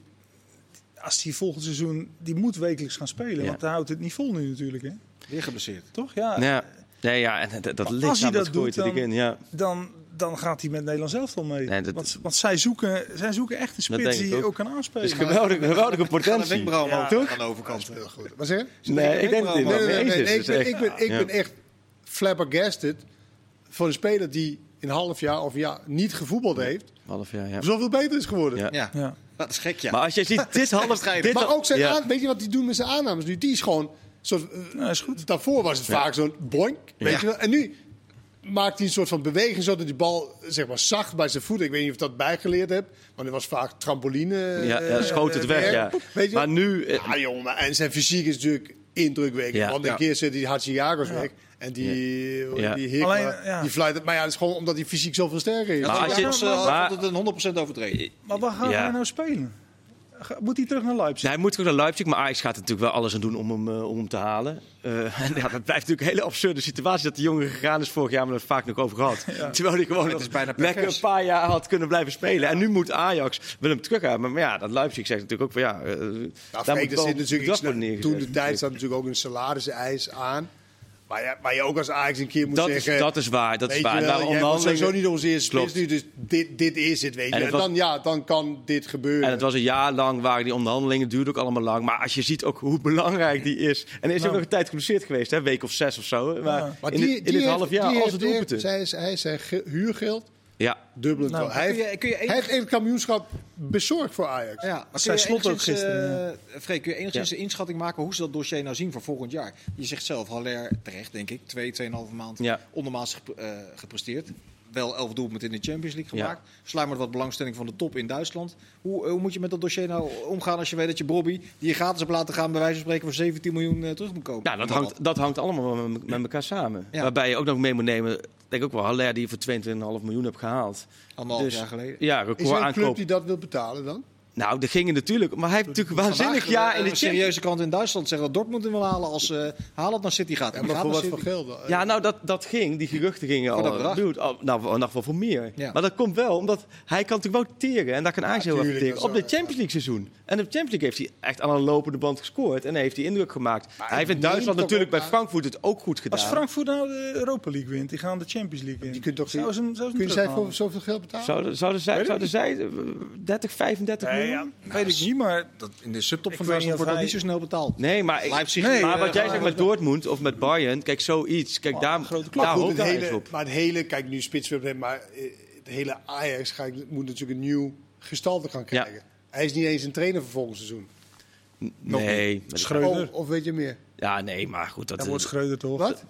Speaker 3: als die volgend seizoen, die moet wekelijks gaan spelen.
Speaker 4: Ja.
Speaker 3: Want hij houdt het niet vol nu natuurlijk, hè?
Speaker 1: Weer geblesseerd.
Speaker 3: Toch? Ja.
Speaker 4: Ja, nee, ja, en dat, dat
Speaker 3: als
Speaker 4: lichaam
Speaker 3: hij
Speaker 4: dat
Speaker 3: dat
Speaker 4: gooit
Speaker 3: doet,
Speaker 4: er dik
Speaker 3: dan-
Speaker 4: in. Ja.
Speaker 3: Dan, dan gaat hij met Nederland zelf al mee.
Speaker 4: Nee, dat-
Speaker 3: want, want zij zoeken, zij zoeken echt een
Speaker 4: denk
Speaker 3: spits
Speaker 4: ik
Speaker 3: die
Speaker 4: ook.
Speaker 3: ook kan aanspelen.
Speaker 4: Dus geweldige, geweldige
Speaker 1: Gaan de
Speaker 4: potentie.
Speaker 1: wenkbrauw
Speaker 3: Ja,
Speaker 1: omhoog
Speaker 4: toch?
Speaker 1: aan de overkant.
Speaker 2: Heel goed. Wat zeg je?
Speaker 4: Nee, ik denk dat hij
Speaker 1: Nee,
Speaker 4: wel
Speaker 2: Nee, nee,
Speaker 4: mee eens
Speaker 2: nee,
Speaker 4: is.
Speaker 2: nee, ik
Speaker 4: Dus
Speaker 2: ben,
Speaker 4: echt-
Speaker 2: ik ben, ik
Speaker 4: ja.
Speaker 2: ben echt flabbergasted voor een speler die een half jaar of jaar niet gevoetbald heeft,
Speaker 4: Half jaar, ja.
Speaker 2: zoveel beter is geworden.
Speaker 4: Ja.
Speaker 1: Ja.
Speaker 3: Ja.
Speaker 1: dat is gek, ja.
Speaker 4: Maar als je ziet, dit half...
Speaker 1: Strijd.
Speaker 4: Dit
Speaker 2: Maar ook zijn
Speaker 4: ja.
Speaker 2: aan, weet je wat die doen met zijn aannames nu? Die is gewoon, soort, eh,
Speaker 3: Nou, is goed.
Speaker 2: daarvoor was het vaak zo'n boink, weet
Speaker 4: Ja.
Speaker 2: je wel. En nu maakt hij een soort van beweging zodat die bal zeg maar zacht bij zijn voeten. Ik weet niet of ik dat bijgeleerd heb, maar dat was vaak trampoline.
Speaker 4: Ja,
Speaker 2: eh,
Speaker 4: ja, schoot het weg,
Speaker 2: werk.
Speaker 4: ja.
Speaker 2: Weet je
Speaker 4: Maar nu... eh,
Speaker 2: Ja, jongen, maar- en zijn fysiek is natuurlijk indrukwekkend.
Speaker 4: Ja.
Speaker 2: Want een
Speaker 4: Ja.
Speaker 2: keer zit die Hatsiyagos weg. En die,
Speaker 4: Ja.
Speaker 2: die Hikma,
Speaker 3: Alleen, ja.
Speaker 2: die fluit het. Maar ja, dat is gewoon omdat hij fysiek zoveel sterker is.
Speaker 1: Ja,
Speaker 4: Maar
Speaker 1: dat
Speaker 4: als
Speaker 1: was,
Speaker 4: je-
Speaker 1: eh, had
Speaker 4: maar-
Speaker 1: het een 100% overtreden.
Speaker 3: Maar waar gaat
Speaker 4: Ja.
Speaker 3: hij nou spelen? Ga- Moet hij terug naar Leipzig?
Speaker 4: Hij moet ook naar Leipzig, maar Ajax gaat er natuurlijk wel alles aan doen om hem, eh, om hem te halen. Eh, [LAUGHS] en ja, dat blijft natuurlijk een hele absurde situatie dat de jongen gegaan is vorig jaar, maar daar hebben we het vaak nog over
Speaker 2: [LAUGHS]
Speaker 4: gehad. Terwijl hij gewoon nog
Speaker 1: is bijna
Speaker 4: lekker
Speaker 1: pervers.
Speaker 4: een paar jaar had kunnen blijven spelen. En nu moet Ajax wil hem terughalen. Maar, maar ja, dat Leipzig zegt natuurlijk ook van ja, eh,
Speaker 2: Nou,
Speaker 4: daar
Speaker 2: Freek,
Speaker 4: moet
Speaker 2: er
Speaker 4: wel
Speaker 2: zit natuurlijk
Speaker 4: bedrag
Speaker 2: iets-
Speaker 4: worden neergezet.
Speaker 2: Toen de tijd zat natuurlijk ook een salariseis aan. Maar ja, waar je ook als Ajax een keer moet
Speaker 4: Dat is,
Speaker 2: zeggen...
Speaker 4: dat is waar, dat
Speaker 2: weet
Speaker 4: is
Speaker 2: je
Speaker 4: waar.
Speaker 2: wel,
Speaker 4: Daar
Speaker 2: jij wordt
Speaker 4: onderhandelingen-
Speaker 2: sowieso niet onze eerste
Speaker 4: Klopt.
Speaker 2: spits nu, dus dit, dit is het, weet je.
Speaker 4: En
Speaker 2: En,
Speaker 4: het was-
Speaker 2: dan, ja, dan kan dit gebeuren.
Speaker 4: En het was een jaar lang, waren die onderhandelingen, duurde ook allemaal lang. Maar als je ziet ook hoe belangrijk die is. En er is ook nog een tijd geblesseerd geweest, hè? een week of zes of zo. Maar,
Speaker 2: Nou. maar
Speaker 4: in,
Speaker 2: die,
Speaker 4: het- in
Speaker 2: die
Speaker 4: het
Speaker 2: heeft-
Speaker 4: half jaar,
Speaker 2: die
Speaker 4: als
Speaker 2: heeft
Speaker 4: het
Speaker 2: echt-
Speaker 4: doelpunten.
Speaker 2: zij is- Hij is zijn ge- huurgeld
Speaker 4: Ja,
Speaker 2: dubbelend.
Speaker 3: Nou,
Speaker 2: hij,
Speaker 1: kun je-
Speaker 2: heeft-
Speaker 1: kun je
Speaker 2: hij
Speaker 1: enig-
Speaker 2: heeft in het kampioenschap bezorgd voor Ajax.
Speaker 1: Ja, maar
Speaker 3: zei
Speaker 1: kun je
Speaker 3: Slot ook
Speaker 1: enigszins,
Speaker 3: gisteren,
Speaker 1: eh, Freek, kun je enigszins
Speaker 4: Ja.
Speaker 1: een inschatting maken hoe ze dat dossier nou zien voor volgend jaar? Je zegt zelf, Haller terecht, denk ik, twee, tweeënhalve maand
Speaker 4: Ja.
Speaker 1: ondermaats gep- eh, gepresteerd. Wel elf doelpunten in de Champions League
Speaker 4: Ja.
Speaker 1: gemaakt. Sluimert wat belangstelling van de top in Duitsland. Hoe, eh, hoe moet je met dat dossier nou omgaan als je weet dat je Bobby, die je gratis hebt laten gaan, bij wijze van spreken voor 17 miljoen eh, terug moet komen?
Speaker 4: Nou, dat hangt, dat hangt allemaal wel met, met elkaar samen.
Speaker 1: Ja.
Speaker 4: Waarbij je ook nog mee moet nemen, ik denk ook wel, Haller die je voor 22,5 miljoen hebt gehaald.
Speaker 1: Anderhalf
Speaker 4: dus-
Speaker 1: jaar geleden.
Speaker 4: Ja,
Speaker 2: Is er
Speaker 4: record
Speaker 2: een club
Speaker 4: aankoop.
Speaker 2: die dat wil betalen dan?
Speaker 4: Nou, er gingen natuurlijk. Maar hij heeft natuurlijk een waanzinnig
Speaker 1: Vandaag,
Speaker 4: jaar
Speaker 1: eh,
Speaker 4: in de
Speaker 1: een
Speaker 4: Champions
Speaker 1: serieuze krant in Duitsland zeggen dat Dortmund hem wil halen als eh Haaland naar City gaat.
Speaker 2: Ja,
Speaker 1: En die
Speaker 2: maar
Speaker 1: gaat
Speaker 2: voor
Speaker 1: naar
Speaker 2: wat voor
Speaker 1: City.
Speaker 2: geld? dan?
Speaker 4: Ja, nou, dat, dat ging. Die geruchten gingen
Speaker 1: Voor dat
Speaker 4: al.
Speaker 1: bedrag.
Speaker 4: Dude, al- nou, vanaf wel voor meer.
Speaker 1: Ja.
Speaker 4: Maar dat komt wel, omdat hij kan natuurlijk wel teren. En daar kan Ajax
Speaker 2: Ja,
Speaker 4: heel erg
Speaker 2: tuurlijk,
Speaker 4: teren.
Speaker 2: dat
Speaker 4: Op
Speaker 2: is
Speaker 4: de
Speaker 2: wel-
Speaker 4: Champions League seizoen. En op de Champions League heeft hij echt aan een lopende band gescoord. En heeft hij indruk gemaakt. hij heeft in
Speaker 2: neemt
Speaker 4: Duitsland
Speaker 2: toch
Speaker 4: natuurlijk
Speaker 2: ook
Speaker 4: bij
Speaker 2: aan-
Speaker 4: Frankfurt het ook goed gedaan.
Speaker 3: Als Frankfurt nou de Europa League wint, die gaan de Champions League in.
Speaker 2: Die kunt toch-
Speaker 3: Zou ze hem, zou ze hem
Speaker 2: Kunnen zij voor
Speaker 3: terughalen?
Speaker 2: zoveel geld betalen?
Speaker 4: Zouden, zouden zij, zouden zij eh, 30, 35
Speaker 3: Nee,
Speaker 4: miljoen?
Speaker 3: ja, weet
Speaker 4: Nou,
Speaker 3: ik niet, maar
Speaker 1: Dat in de subtop
Speaker 3: Ik
Speaker 1: van
Speaker 3: weet niet
Speaker 1: Duitsland
Speaker 3: of
Speaker 1: wordt dat
Speaker 3: hij-
Speaker 1: niet zo snel betaald.
Speaker 4: Nee, maar, ik-
Speaker 1: Leipzig,
Speaker 3: Nee,
Speaker 4: maar
Speaker 3: eh,
Speaker 4: wat jij zegt
Speaker 3: Ajax
Speaker 4: met Dortmund of met Bayern, kijk, zoiets. Kijk, daar,
Speaker 3: grote club.
Speaker 4: daar
Speaker 2: goed,
Speaker 4: hoopt
Speaker 2: het
Speaker 4: Ajax
Speaker 2: hele,
Speaker 4: op.
Speaker 2: Maar het hele, kijk nu spits weer op hem, maar eh, het hele Ajax ga ik, moet natuurlijk een nieuw gestalte gaan krijgen. Hij is niet eens een trainer voor volgend seizoen.
Speaker 4: Nee,
Speaker 3: Schreuder.
Speaker 2: Oh, of weet je meer?
Speaker 4: ja, nee, maar goed. Dat,
Speaker 3: Dan wordt Schreuder toch?
Speaker 2: Wat?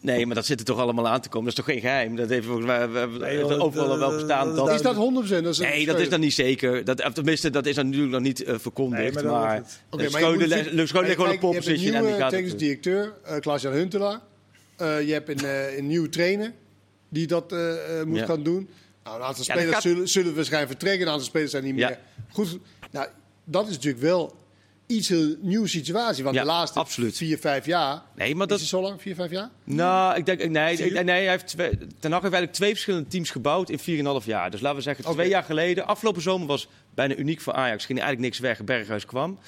Speaker 4: Nee, maar dat zit er toch allemaal aan te komen. Dat is toch geen geheim? Dat heeft, volgens mij- we hebben
Speaker 3: Nee,
Speaker 4: heeft
Speaker 3: joh,
Speaker 4: er overal
Speaker 3: dat-
Speaker 4: wel gestaan.
Speaker 3: dat-
Speaker 4: dat-
Speaker 2: Is dat 100%? Dat is
Speaker 4: nee, dat is dan niet zeker. Dat, of tenminste, dat is dan natuurlijk nog niet eh,
Speaker 3: Nee,
Speaker 4: verkondigd.
Speaker 3: maar
Speaker 4: maar
Speaker 3: dan
Speaker 4: maar
Speaker 3: wordt het.
Speaker 2: Oké,
Speaker 4: eh,
Speaker 2: maar je
Speaker 4: Schreuder
Speaker 2: moet-
Speaker 4: le- le- Schreuder legt gewoon een pole
Speaker 2: Je
Speaker 4: position
Speaker 2: hebt
Speaker 4: en
Speaker 2: een
Speaker 4: die
Speaker 2: nieuwe
Speaker 4: gaat
Speaker 2: technisch
Speaker 4: het
Speaker 2: directeur, eh, Klaas-Jan Huntelaar. Eh, je hebt een, eh, een nieuwe trainer die dat eh, eh, moet
Speaker 4: Ja.
Speaker 2: gaan doen. Nou, een aantal
Speaker 4: Ja, dat
Speaker 2: spelers
Speaker 4: gaat-
Speaker 2: zullen, zullen waarschijnlijk vertrekken. Een aantal spelers zijn niet
Speaker 4: Ja.
Speaker 2: meer goed. Nou, dat is natuurlijk wel iets heel nieuwe situatie. Want
Speaker 4: Ja,
Speaker 2: de laatste
Speaker 4: absoluut.
Speaker 2: vier, vijf jaar...
Speaker 4: Nee, maar
Speaker 2: Is
Speaker 4: dat...
Speaker 2: het zo lang? Vier, vijf jaar?
Speaker 4: Nou, ik denk... Nee, ik- nee hij heeft twee, Ten Hag heeft eigenlijk twee verschillende teams gebouwd in 4,5 jaar. Dus laten we zeggen,
Speaker 2: Oké.
Speaker 4: twee jaar geleden... Afgelopen zomer was bijna uniek voor Ajax. Ging eigenlijk niks weg. Berghuis kwam.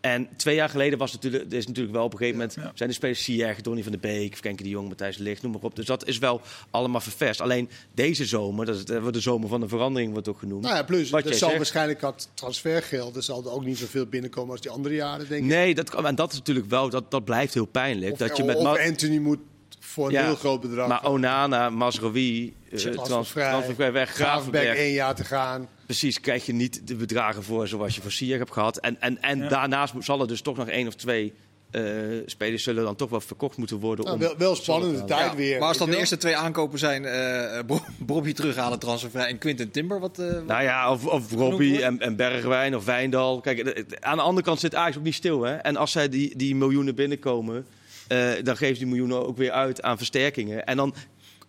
Speaker 4: En twee jaar geleden was natuurlijk, er is natuurlijk wel op een gegeven moment...
Speaker 3: Ja.
Speaker 4: zijn de spelers Sierg, Donny van de Beek, Frenkie de Jong, Matthijs de Ligt, noem maar op. Dus dat is wel allemaal vervest. Alleen deze zomer, dat is eh, wordt de zomer van de verandering wordt ook genoemd.
Speaker 2: Nou ja, plus,
Speaker 4: Wat
Speaker 2: er
Speaker 4: jij
Speaker 2: zal
Speaker 4: zegt.
Speaker 2: waarschijnlijk dat transfergeld... er zal er ook niet zoveel binnenkomen als die andere jaren, denk ik.
Speaker 4: Nee, dat, kan- en dat is natuurlijk wel, dat, dat blijft heel pijnlijk.
Speaker 2: Of,
Speaker 4: dat je
Speaker 2: of
Speaker 4: met Ma-
Speaker 2: Anthony moet voor een
Speaker 4: Ja,
Speaker 2: heel groot bedrag...
Speaker 4: maar Onana, Masrowi, eh trans-
Speaker 2: Transfervrij,
Speaker 4: transfervrij weg,
Speaker 2: Gravenberg
Speaker 4: Gravenberg.
Speaker 2: één jaar te gaan.
Speaker 4: Precies, krijg je niet de bedragen voor zoals je voor Sier hebt gehad. En, en, en
Speaker 3: Ja.
Speaker 4: daarnaast moet- zal er dus toch nog één of twee eh, spelers zullen dan toch wel verkocht moeten worden.
Speaker 2: Nou,
Speaker 4: om,
Speaker 2: wel, wel spannende
Speaker 4: Ja,
Speaker 2: tijd
Speaker 1: Ja,
Speaker 2: weer.
Speaker 1: maar als dan
Speaker 2: weet
Speaker 1: de
Speaker 2: je
Speaker 1: eerste twee aankopen zijn, eh, Bro- [LAUGHS] Bobby terughalen, transfervrij en Quinten Timber. Wat, eh, wat-
Speaker 4: Nou ja, of, of Robbie en, en Bergwijn of Wijndal. Kijk, eh, eh, aan de andere kant zit Ajax ook niet stil. Hè? En als zij die, die miljoenen binnenkomen, eh, dan geven ze die miljoenen ook weer uit aan versterkingen. En dan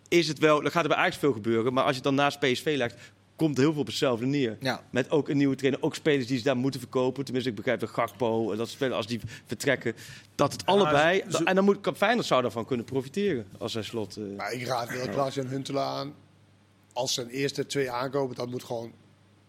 Speaker 4: is het wel, dan gaat er bij Ajax veel gebeuren. Maar als je het dan naast PSV legt, komt heel veel op hetzelfde neer.
Speaker 1: Ja.
Speaker 4: Met ook een nieuwe trainer, ook spelers die ze daar moeten verkopen. Tenminste, ik begrijp dat Gakpo, eh, dat spelers als die vertrekken, dat het allebei...
Speaker 3: ze-
Speaker 4: en dan moet kan- Feyenoord zou daarvan kunnen profiteren, als hij slot... eh,
Speaker 2: wel. Maar ik raad wel Klaas-Jan Huntelaar aan. Als zijn eerste twee aankopen, dat moet gewoon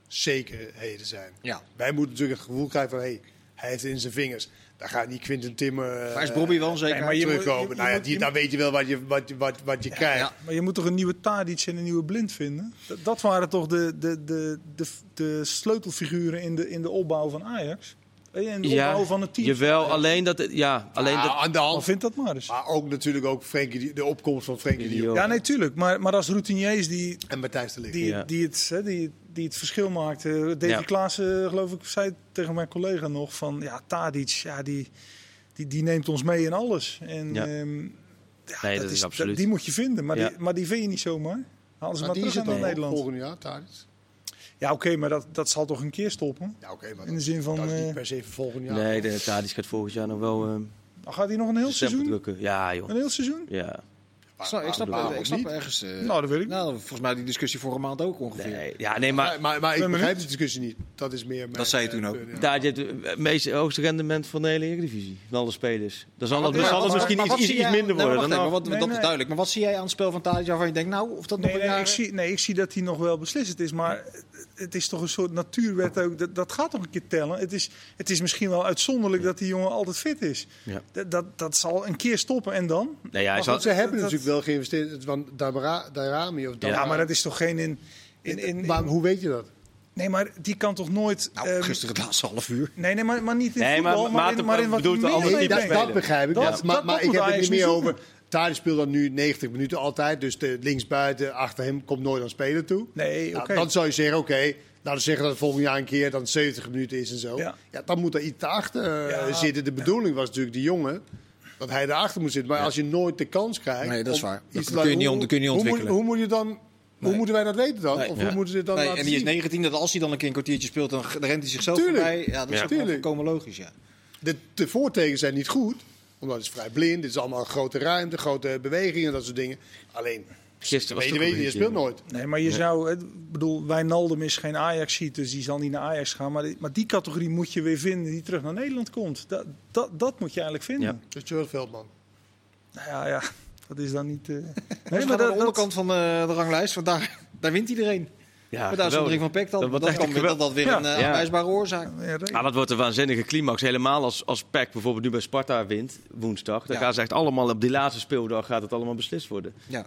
Speaker 2: zekerheden zijn.
Speaker 1: ja.
Speaker 2: Wij moeten natuurlijk het gevoel krijgen van... Hey, hij heeft het in zijn vingers. Daar gaat niet Quinten Timmer eh,
Speaker 1: Maar is Bobby wel zeker?
Speaker 3: nee, maar je moet-
Speaker 2: terugkomen.
Speaker 3: je- je
Speaker 2: nou ja,
Speaker 3: moet-
Speaker 2: die,
Speaker 3: je
Speaker 2: dan weet je wel wat je, wat, je- wat, wat je krijgt.
Speaker 1: ja.
Speaker 3: Maar je moet toch een nieuwe Tadic en een nieuwe Blind vinden? Dat, dat waren toch de, de, de, de, de sleutelfiguren in de, in de opbouw van Ajax? En in de opbouw van het team.
Speaker 4: Jawel, alleen dat... het- Ja, alleen
Speaker 2: Ah,
Speaker 4: dat...
Speaker 2: aan de
Speaker 3: Al
Speaker 2: hand.
Speaker 3: vindt dat maar eens.
Speaker 2: Maar ook natuurlijk ook Frenkie, de- de opkomst van Frenkie de Jong
Speaker 3: Ja, nee, tuurlijk. Maar, maar als routiniers die,
Speaker 1: eh,
Speaker 2: en Matthijs de Ligt.
Speaker 3: die,
Speaker 4: Ja.
Speaker 3: die, het, hè, die, die het verschil maakten. Davy
Speaker 4: Ja.
Speaker 3: Klaassen, eh, geloof ik, zei tegen mijn collega nog van... Ja, Tadic, ja, die, die, die neemt ons mee in alles. En,
Speaker 4: Ja.
Speaker 3: ehm, ja,
Speaker 4: Nee, dat is absoluut.
Speaker 3: die moet je vinden, maar,
Speaker 4: Ja.
Speaker 3: die, maar die vind je niet zomaar. Haal ze
Speaker 2: Maar
Speaker 3: maar
Speaker 2: die
Speaker 3: terug
Speaker 2: zit
Speaker 3: naar
Speaker 2: dan
Speaker 3: Nederland.
Speaker 2: volgend jaar, Tadic.
Speaker 3: Ja, oké, maar dat, dat zal toch een keer stoppen?
Speaker 2: Ja, oké, maar
Speaker 3: In de
Speaker 2: dat,
Speaker 3: zin van,
Speaker 2: dat is
Speaker 3: eh,
Speaker 2: niet per se voor volgend jaar.
Speaker 4: Nee, de Tadic gaat volgend jaar nog wel ehm
Speaker 3: Dan eh, gaat hij nog een heel
Speaker 4: de stempel
Speaker 3: seizoen?
Speaker 4: drukken. Ja, joh.
Speaker 3: Een heel seizoen?
Speaker 4: Ja.
Speaker 1: Ik snap- ik snap,
Speaker 2: Maar waarom
Speaker 1: ik snap
Speaker 2: niet?
Speaker 1: ergens. eh,
Speaker 3: Nou, dat weet ik niet.
Speaker 1: nou, volgens mij die discussie vorige maand ook ongeveer.
Speaker 4: Nee, ja, nee, maar
Speaker 2: Maar, maar, maar ik
Speaker 3: Ben
Speaker 2: begrijp de discussie niet. Dat is meer. mijn,
Speaker 1: zei je
Speaker 2: eh,
Speaker 1: toen ook.
Speaker 2: punt, ja.
Speaker 4: Tadic heeft het meest hoogste rendement van de hele Eredivisie. Van alle spelers. Dan zal het,
Speaker 1: Maar
Speaker 4: zal
Speaker 1: wat-
Speaker 4: het misschien
Speaker 1: maar
Speaker 4: iets,
Speaker 1: wat
Speaker 4: iets,
Speaker 1: zie jij-
Speaker 4: minder
Speaker 1: Nee, maar wacht
Speaker 4: worden. dan
Speaker 1: even,
Speaker 4: nog.
Speaker 1: want- want
Speaker 3: Nee,
Speaker 1: dat
Speaker 3: nee.
Speaker 1: is duidelijk. Maar wat zie jij aan het spel van Tadic waarvan je denkt, nou, of dat
Speaker 3: Nee,
Speaker 1: nog een
Speaker 3: nee,
Speaker 1: jaar...
Speaker 3: ik zie, nee, ik zie dat hij nog wel beslist. Het is maar, het is toch een soort natuurwet ook. Dat, dat gaat toch een keer tellen. Het is, het is misschien wel uitzonderlijk dat die jongen altijd fit is.
Speaker 4: Ja.
Speaker 3: Dat, dat, dat zal een keer stoppen en dan?
Speaker 4: Nee, ja, hij
Speaker 2: Maar
Speaker 4: zal-
Speaker 2: goed, ze hebben
Speaker 3: dat-
Speaker 2: natuurlijk wel geïnvesteerd. Van Dabra- Dairami of
Speaker 3: Ja,
Speaker 2: Dabra-
Speaker 3: maar dat is toch geen in... in, in,
Speaker 2: Maar
Speaker 3: in-
Speaker 2: hoe weet je dat?
Speaker 3: nee, maar die kan toch nooit...
Speaker 1: Nou,
Speaker 3: ehm,
Speaker 1: gisteren het laatste half uur.
Speaker 3: nee, nee, maar, maar niet in
Speaker 4: Nee, maar
Speaker 3: voetbal, maar,
Speaker 4: Maarten
Speaker 3: in, maar in wat
Speaker 4: bedoelt de andere
Speaker 3: meer
Speaker 2: Nee,
Speaker 4: type
Speaker 2: dat,
Speaker 3: meebrengt.
Speaker 4: spelen.
Speaker 2: dat begrijp ik.
Speaker 3: Dat-
Speaker 2: ja.
Speaker 3: dat-
Speaker 2: Maar,
Speaker 3: dat
Speaker 2: maar ik
Speaker 3: moet
Speaker 2: heb het
Speaker 3: Ajax
Speaker 2: niet meer
Speaker 3: nu
Speaker 2: over. Tadic speelt dan nu 90 minuten altijd. Dus de linksbuiten achter hem komt nooit aan spelen toe.
Speaker 3: Nee,
Speaker 2: Nou,
Speaker 3: oké.
Speaker 2: dan zou je zeggen: oké, laten we zeggen dat het volgend jaar een keer dan 70 minuten is en zo.
Speaker 3: Ja.
Speaker 2: Ja. dan moet er iets achter eh,
Speaker 3: Ja.
Speaker 2: zitten. De bedoeling was natuurlijk die jongen. Dat hij erachter moet zitten. Maar als je nooit de kans krijgt.
Speaker 1: Nee, dat is
Speaker 2: om
Speaker 1: waar.
Speaker 2: iets
Speaker 1: Dat
Speaker 2: te
Speaker 1: kun
Speaker 2: laten-
Speaker 1: je niet on-
Speaker 2: hoe-
Speaker 1: dat kun je niet
Speaker 2: hoe moet-
Speaker 1: ontwikkelen.
Speaker 2: Hoe, moet je dan, hoe moeten wij dat weten dan?
Speaker 1: Nee.
Speaker 2: Oh, of
Speaker 4: Ja.
Speaker 2: hoe moeten ze dat
Speaker 1: Nee,
Speaker 2: laten
Speaker 1: en die is
Speaker 2: zien?
Speaker 1: 19, dat als hij dan een keer een kwartiertje speelt, dan rent hij zichzelf
Speaker 2: Tuurlijk.
Speaker 1: voorbij. Ja, dat is
Speaker 4: Ja.
Speaker 1: ook wel
Speaker 2: Tuurlijk.
Speaker 1: volkomen logisch, ja. Dus
Speaker 2: De, de voortekens zijn niet goed, omdat het is vrij blind. Dit is allemaal grote ruimte, grote bewegingen, dat soort dingen. Alleen,
Speaker 4: Gisteren was
Speaker 2: Weet
Speaker 4: het
Speaker 2: je,
Speaker 4: ook
Speaker 2: weet je,
Speaker 4: nog
Speaker 2: je
Speaker 4: een
Speaker 2: speelt
Speaker 4: keer.
Speaker 2: nooit.
Speaker 3: Nee, maar je zou, ik bedoel, Wijnaldum is geen ajax ziet, dus die zal niet naar Ajax gaan. Maar die, maar die categorie moet je weer vinden die terug naar Nederland komt. Dat, dat, dat moet je eigenlijk vinden.
Speaker 2: Dus Jurgen Veldman.
Speaker 3: Ja. Nou ja, ja, dat is dan niet. eh,
Speaker 1: Nee, maar aan de
Speaker 3: dat- dat-
Speaker 1: onderkant van eh, de ranglijst, want daar, [LAUGHS] daar wint iedereen.
Speaker 4: Ja,
Speaker 1: Met de uitzondering
Speaker 4: geweldig.
Speaker 1: van Peck dan.
Speaker 4: Dat
Speaker 1: Dat,
Speaker 4: wordt echt
Speaker 1: kan
Speaker 4: een
Speaker 1: weer, dat, dat weer
Speaker 3: Ja.
Speaker 1: een eh,
Speaker 4: Ja.
Speaker 1: aanwijsbare oorzaak.
Speaker 3: Ja, re-
Speaker 4: Ah, dat wordt een waanzinnige climax. Helemaal als, als PEC bijvoorbeeld nu bij Sparta wint, woensdag. Dan
Speaker 1: Ja.
Speaker 4: gaan ze echt allemaal op die laatste speeldag gaat het allemaal beslist worden.
Speaker 1: Ja.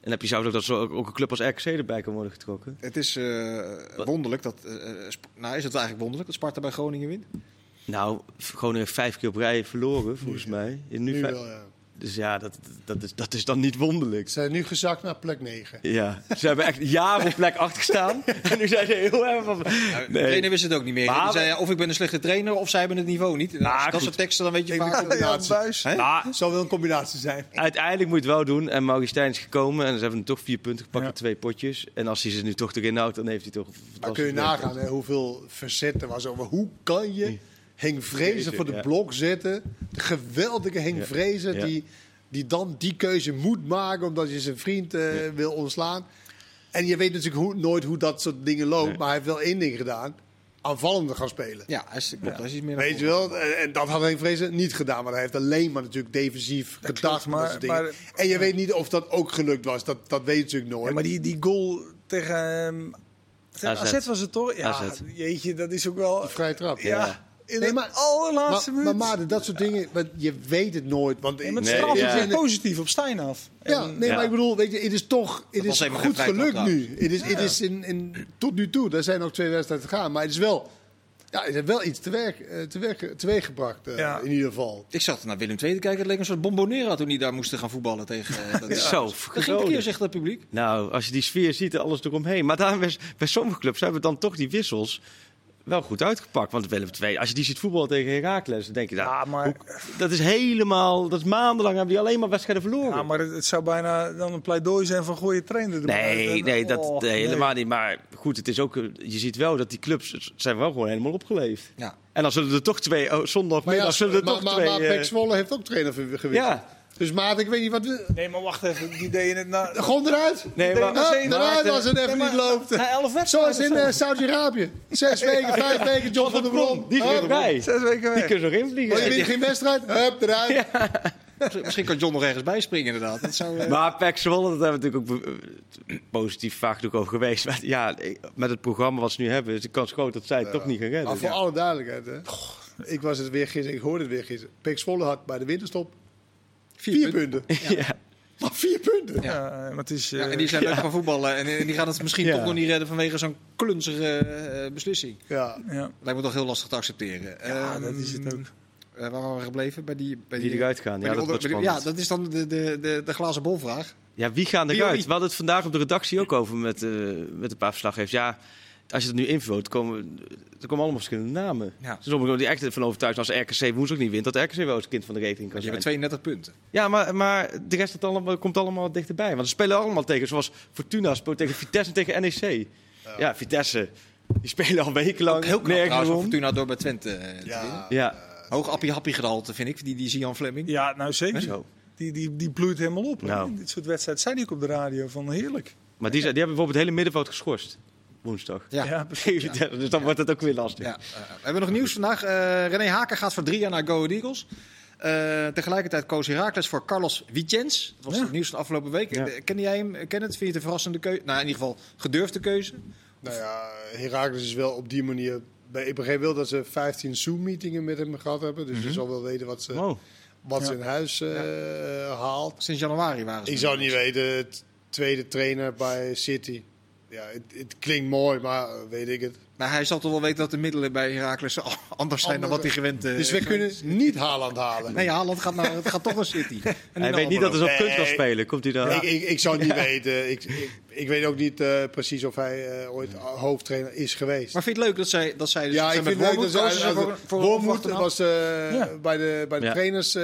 Speaker 4: En dan heb je zou ook dat zo ook ook een club als RKC erbij kan worden getrokken.
Speaker 1: Het is eh, wonderlijk dat. eh, eh, Sp- nou, is het eigenlijk wonderlijk dat Sparta bij Groningen wint?
Speaker 4: Nou, v- Groningen vijf keer op rij verloren, volgens mij. In nu
Speaker 2: Nu
Speaker 4: vijf-
Speaker 2: wel, ja.
Speaker 4: Dus ja, dat, dat, is, dat is dan niet wonderlijk.
Speaker 2: Ze zijn nu gezakt naar plek 9.
Speaker 4: Ja, ze hebben echt jaren op plek 8
Speaker 2: [LAUGHS]
Speaker 4: gestaan. En nu zijn ze heel erg van...
Speaker 1: Nou, De trainer wist het ook niet meer.
Speaker 4: Maar-
Speaker 1: Die zei, ja, of ik ben een slechte trainer of zij hebben het niveau niet. Nou,
Speaker 4: Maar
Speaker 1: als je dat
Speaker 4: goed.
Speaker 1: soort teksten, dan weet je vaak.
Speaker 2: dat- combinatie.
Speaker 3: buis.
Speaker 1: Hè?
Speaker 4: Ah,
Speaker 2: Zou wel een combinatie zijn.
Speaker 4: uiteindelijk moet je het wel doen. En Mauristijn is gekomen en ze hebben hem toch vier punten gepakt
Speaker 3: Ja.
Speaker 4: in twee potjes. En als hij ze nu toch erin houdt, dan heeft hij toch... een
Speaker 2: Maar
Speaker 4: fantastisch
Speaker 2: kun je
Speaker 4: werk.
Speaker 2: nagaan hè, hoeveel verzet er was over hoe kan je Henk Vrezen voor de
Speaker 4: ja.
Speaker 2: blok zetten. De geweldige Henk
Speaker 4: Ja.
Speaker 2: Vrezen
Speaker 4: Ja.
Speaker 2: die, die dan die keuze moet maken omdat je zijn vriend eh, wil ontslaan. En je weet natuurlijk hoe, nooit hoe dat soort dingen loopt,
Speaker 4: Nee.
Speaker 2: maar hij heeft wel één ding gedaan. Aanvallende gaan spelen.
Speaker 1: Ja, hij is, klopt, hij is iets meer. dan
Speaker 2: Weet je wel, en en dat had Henk Vrezen niet gedaan. Maar hij heeft alleen maar natuurlijk defensief gedacht. en
Speaker 3: maar-
Speaker 2: dat soort dingen.
Speaker 3: maar-
Speaker 2: en je weet niet of dat ook gelukt was. Dat, dat weet je natuurlijk nooit.
Speaker 3: Ja, maar die, die goal tegen, ehm, tegen
Speaker 4: AZ.
Speaker 3: AZ. was het toch? Ja,
Speaker 4: AZ.
Speaker 3: jeetje, dat is ook wel...
Speaker 2: Vrije trap.
Speaker 3: Ja, in
Speaker 2: Nee,
Speaker 3: de
Speaker 2: maar-
Speaker 3: allerlaatste
Speaker 2: maar,
Speaker 3: minuut.
Speaker 2: maar Maarten, dat soort dingen, want je weet het nooit. Want Oh,
Speaker 3: en met
Speaker 4: Nee,
Speaker 3: straffen
Speaker 4: ja.
Speaker 3: zich positief op Stijn af.
Speaker 2: Ja,
Speaker 3: En-
Speaker 2: nee,
Speaker 4: Ja.
Speaker 2: maar ik bedoel, weet je, het is toch het
Speaker 1: was
Speaker 2: is
Speaker 1: helemaal
Speaker 2: goed
Speaker 1: geen vrije
Speaker 2: gelukt
Speaker 1: trap
Speaker 2: nu. Het is, het is in, in, tot nu toe, daar zijn nog twee wedstrijden te gaan. Maar het is wel, ja, het heeft wel iets te werk, eh, te werk, teweeggebracht, eh,
Speaker 3: Ja.
Speaker 2: in ieder geval.
Speaker 1: Ik zat naar Willem II te kijken. Het leek een soort bombonera toen die daar moesten gaan voetballen tegen.
Speaker 4: [LAUGHS]
Speaker 1: eh, dat
Speaker 4: Zo,
Speaker 1: Dat ging
Speaker 4: verdorie.
Speaker 1: keer, zegt het publiek.
Speaker 4: Nou, als je die sfeer ziet en alles eromheen. Maar daarom is, bij sommige clubs hebben dan toch die wissels wel goed uitgepakt. Want Willem II, als je die ziet voetballen tegen Heracles, dan denk je... Nou,
Speaker 3: Ja, maar,
Speaker 4: Dat is helemaal... Dat is maandenlang hebben die alleen maar wedstrijden verloren.
Speaker 3: ja, maar het, het zou bijna dan een pleidooi zijn van goede trainer. erbij.
Speaker 4: Nee,
Speaker 3: En-
Speaker 4: nee, dat,
Speaker 3: oh,
Speaker 4: nee,
Speaker 3: nee.
Speaker 4: helemaal niet. Maar goed, het is ook, eh, je ziet wel dat die clubs het zijn wel gewoon helemaal opgeleefd.
Speaker 1: Ja.
Speaker 4: En dan zullen er toch twee, oh,
Speaker 2: Maar,
Speaker 4: zondagmiddag
Speaker 2: ja,
Speaker 4: zullen er
Speaker 2: maar,
Speaker 4: toch
Speaker 2: maar,
Speaker 4: twee...
Speaker 2: maar
Speaker 4: eh,
Speaker 2: Pek Zwolle heeft ook trainer ver- gewisseld.
Speaker 4: ja,
Speaker 2: Dus Maarten, ik weet niet wat... we-
Speaker 3: Nee, maar wacht even. Die deden het [LAUGHS] na...
Speaker 2: Gewoon eruit!
Speaker 4: nee,
Speaker 3: deed
Speaker 4: maar,
Speaker 3: nog
Speaker 2: Hup,
Speaker 3: zeven
Speaker 2: eruit
Speaker 4: Maarten-
Speaker 2: als het even
Speaker 3: maar-
Speaker 2: niet loopt.
Speaker 3: Na elf
Speaker 2: Zoals
Speaker 3: wedstrijden.
Speaker 2: in
Speaker 3: of zo.
Speaker 2: eh, Saudi-Arabië. Zes weken, vijf weken, John van der Brom.
Speaker 4: die is
Speaker 2: Hup.
Speaker 4: weer erbij.
Speaker 3: Zes weken
Speaker 4: Ah, Die
Speaker 3: weg.
Speaker 4: kunnen nog
Speaker 2: Oh,
Speaker 4: invliegen.
Speaker 2: je wint geen wedstrijd? Hup, eruit.
Speaker 1: Misschien- Misschien kan John nog ergens bijspringen, inderdaad. Dat zou, eh,
Speaker 4: Maar Pek Zwolle, daar hebben we natuurlijk ook eh, positief vaak natuurlijk over geweest. Maar ja, eh, met het programma wat ze nu hebben, is de kans groot dat zij het toch niet gaan redden.
Speaker 2: Maar voor alle duidelijkheid, hè. ik was het weer gisteren, ik hoorde het weer gisteren. Pek Zwolle had bij de winterstop vier, punten.
Speaker 4: [LAUGHS] Ja.
Speaker 2: Maar vier punten.
Speaker 3: Ja, eh, maar het is... eh,
Speaker 1: ja, en die zijn leuk gaan voetballen. En, en die gaan het misschien
Speaker 4: Ja.
Speaker 1: toch nog niet redden vanwege zo'n klunzige eh, beslissing.
Speaker 2: Ja.
Speaker 3: ja.
Speaker 1: Lijkt me toch heel lastig te accepteren.
Speaker 3: Ja,
Speaker 1: Ehm,
Speaker 3: dat is het ook.
Speaker 1: eh, waar waren we gebleven? Bij die, bij
Speaker 4: Die eruit gaan.
Speaker 1: bij
Speaker 4: Ja,
Speaker 1: die
Speaker 4: dat wordt
Speaker 1: onder- bij die-
Speaker 4: spannend.
Speaker 1: ja, dat is dan de, de, de, de glazen bolvraag.
Speaker 4: Ja, wie gaan
Speaker 1: Wie,
Speaker 4: eruit?
Speaker 1: wie?
Speaker 4: We hadden het vandaag op de redactie ook over met, eh, met een paar verslaggevers. Ja, als je het nu invult, komen, er komen allemaal verschillende namen.
Speaker 1: Ja.
Speaker 4: Sommigen die echt van overtuigd zijn als RKC woensdag niet wint, dat RKC wel eens kind van de rekening kan
Speaker 1: Je
Speaker 4: zijn.
Speaker 1: hebt 32 punten.
Speaker 4: Ja, maar, maar de rest het allemaal, komt allemaal wat dichterbij. Want ze spelen allemaal tegen, zoals Fortuna speelt tegen Vitesse en tegen NEC. Ja, Vitesse, die spelen al wekenlang
Speaker 1: Heel knap
Speaker 4: nergens
Speaker 1: trouwens, van
Speaker 4: om.
Speaker 1: Fortuna door bij Twente. eh, te winnen.
Speaker 4: Ja,
Speaker 1: Hoog appie-happie gedalte, vind ik, die, die Zian Fleming.
Speaker 3: Ja, nou zeker.
Speaker 4: zo.
Speaker 3: Die, die, die bloeit helemaal op.
Speaker 4: Nou.
Speaker 3: Dit soort wedstrijden zei hij ook op de radio van heerlijk.
Speaker 4: Maar die, zijn- die hebben bijvoorbeeld het hele middenveld geschorst, woensdag.
Speaker 1: Ja.
Speaker 3: precies.
Speaker 4: Tegen Vitesse, [LAUGHS] dus dan wordt het ook weer lastig.
Speaker 1: Ja, eh, we hebben nog nieuws vandaag. Eh, René Haken gaat voor drie jaar naar Go Ahead Eagles. Eh, tegelijkertijd koos Herakles voor Carlos Vigens. Dat was
Speaker 3: Ja.
Speaker 1: het nieuws van de afgelopen week.
Speaker 4: Ja.
Speaker 1: Eh, Ken jij hem? Ken het? Vind je het een verrassende keuze? Nou, in ieder geval gedurfde keuze.
Speaker 2: Nou ja, Herakles is wel op die manier... Bij EPG wil dat ze 15 Zoom-meetingen met hem gehad hebben. Dus je zal wel weten wat ze,
Speaker 4: Wow.
Speaker 2: wat ze
Speaker 3: Ja.
Speaker 2: in huis eh, haalt.
Speaker 1: Sinds januari waren ze.
Speaker 2: Ik
Speaker 1: er.
Speaker 2: zou niet weten, t- tweede trainer bij City. Ja, het, het klinkt mooi, maar eh, weet ik het.
Speaker 1: Maar hij zal toch wel weten dat de middelen bij Herakles anders zijn dan wat hij gewend eh, is.
Speaker 2: Dus we kunnen niet Haaland halen.
Speaker 1: Nee, Haaland gaat, naar, het gaat toch naar City. En
Speaker 4: Hij weet niet dat hij
Speaker 1: het...
Speaker 4: ze op punt kan
Speaker 2: Nee.
Speaker 4: spelen. Komt hij dan?
Speaker 2: Ik, ik, ik zou het niet weten. Ik, ik, ik weet ook niet eh, precies of hij eh, ooit hoofdtrainer is geweest.
Speaker 1: Maar vind je het leuk dat zij, dat zij dus
Speaker 2: ja,
Speaker 1: zijn
Speaker 2: ik vind
Speaker 1: met
Speaker 2: leuk dat
Speaker 1: Wormoed
Speaker 2: ze
Speaker 1: kozen,
Speaker 2: uit-
Speaker 1: zijn
Speaker 2: uit-
Speaker 1: voor- voor-
Speaker 2: Wormoed
Speaker 1: voor-
Speaker 2: was eh,
Speaker 3: Ja.
Speaker 2: bij de, bij de
Speaker 4: Ja.
Speaker 2: trainers eh,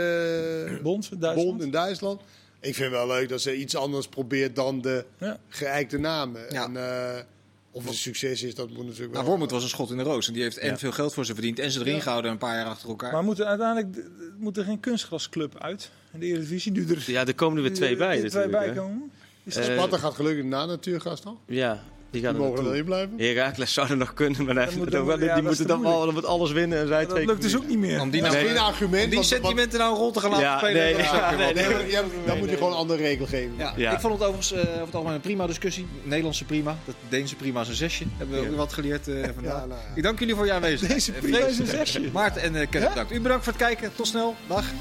Speaker 3: Bond van Duitsland.
Speaker 2: bond in Duitsland. Ik vind wel leuk dat ze iets anders probeert dan de
Speaker 3: Ja.
Speaker 2: geëikte namen.
Speaker 1: Ja.
Speaker 2: En, eh, of het een succes is, dat moet natuurlijk wel.
Speaker 1: Nou, Wormoed was een schot in de roos. En die heeft en veel geld voor ze verdiend. En ze erin gehouden een paar jaar achter elkaar.
Speaker 3: Maar moet er uiteindelijk d- d- moet er geen kunstgrasclub uit in de Eredivisie? Nu er
Speaker 4: Ja, er komen er weer twee bij.
Speaker 3: er twee
Speaker 4: natuurlijk,
Speaker 3: bij
Speaker 4: hè.
Speaker 3: komen.
Speaker 4: Eh,
Speaker 2: Dus Sparta gaat gelukkig na Natuurgas dan.
Speaker 4: Ja, die
Speaker 2: Die
Speaker 4: gaan er
Speaker 2: mogen wel
Speaker 4: naartoe.
Speaker 2: in blijven.
Speaker 4: Herakles zou er nog kunnen, maar
Speaker 3: Dat
Speaker 4: dat
Speaker 3: moet-
Speaker 4: dat-
Speaker 3: ja,
Speaker 4: die
Speaker 3: dat is
Speaker 4: moeten
Speaker 3: te
Speaker 4: dan
Speaker 3: moeilijk.
Speaker 4: wel met alles winnen. En zij
Speaker 3: Dat
Speaker 4: twee
Speaker 3: lukt dus ook niet meer.
Speaker 1: Om die, nou,
Speaker 4: Nee.
Speaker 2: Geen argument.
Speaker 1: om die
Speaker 2: want-
Speaker 1: sentimenten nou rond te gaan laten
Speaker 4: Ja,
Speaker 1: spelen.
Speaker 4: nee,
Speaker 1: dat is
Speaker 4: ja,
Speaker 1: ook weer wat.
Speaker 2: want- Nee, maar, ja, dan moet je gewoon een andere regel geven.
Speaker 1: Ja,
Speaker 4: Ja.
Speaker 1: Ik vond het overigens eh, over het algemeen een prima discussie. Nederlandse prima. Dat Deense prima is een zesje. Hebben we
Speaker 4: Ja.
Speaker 1: ook wat geleerd eh, vandaag.
Speaker 2: Ja, nou ja.
Speaker 1: Ik dank jullie voor je aanwezigheid.
Speaker 3: Deze
Speaker 1: Eh,
Speaker 3: prima
Speaker 1: Freek,
Speaker 3: is een zesje.
Speaker 1: Maarten en eh Kevin,
Speaker 2: Ja?
Speaker 1: bedankt. U bedankt voor het kijken. Tot snel. Dag.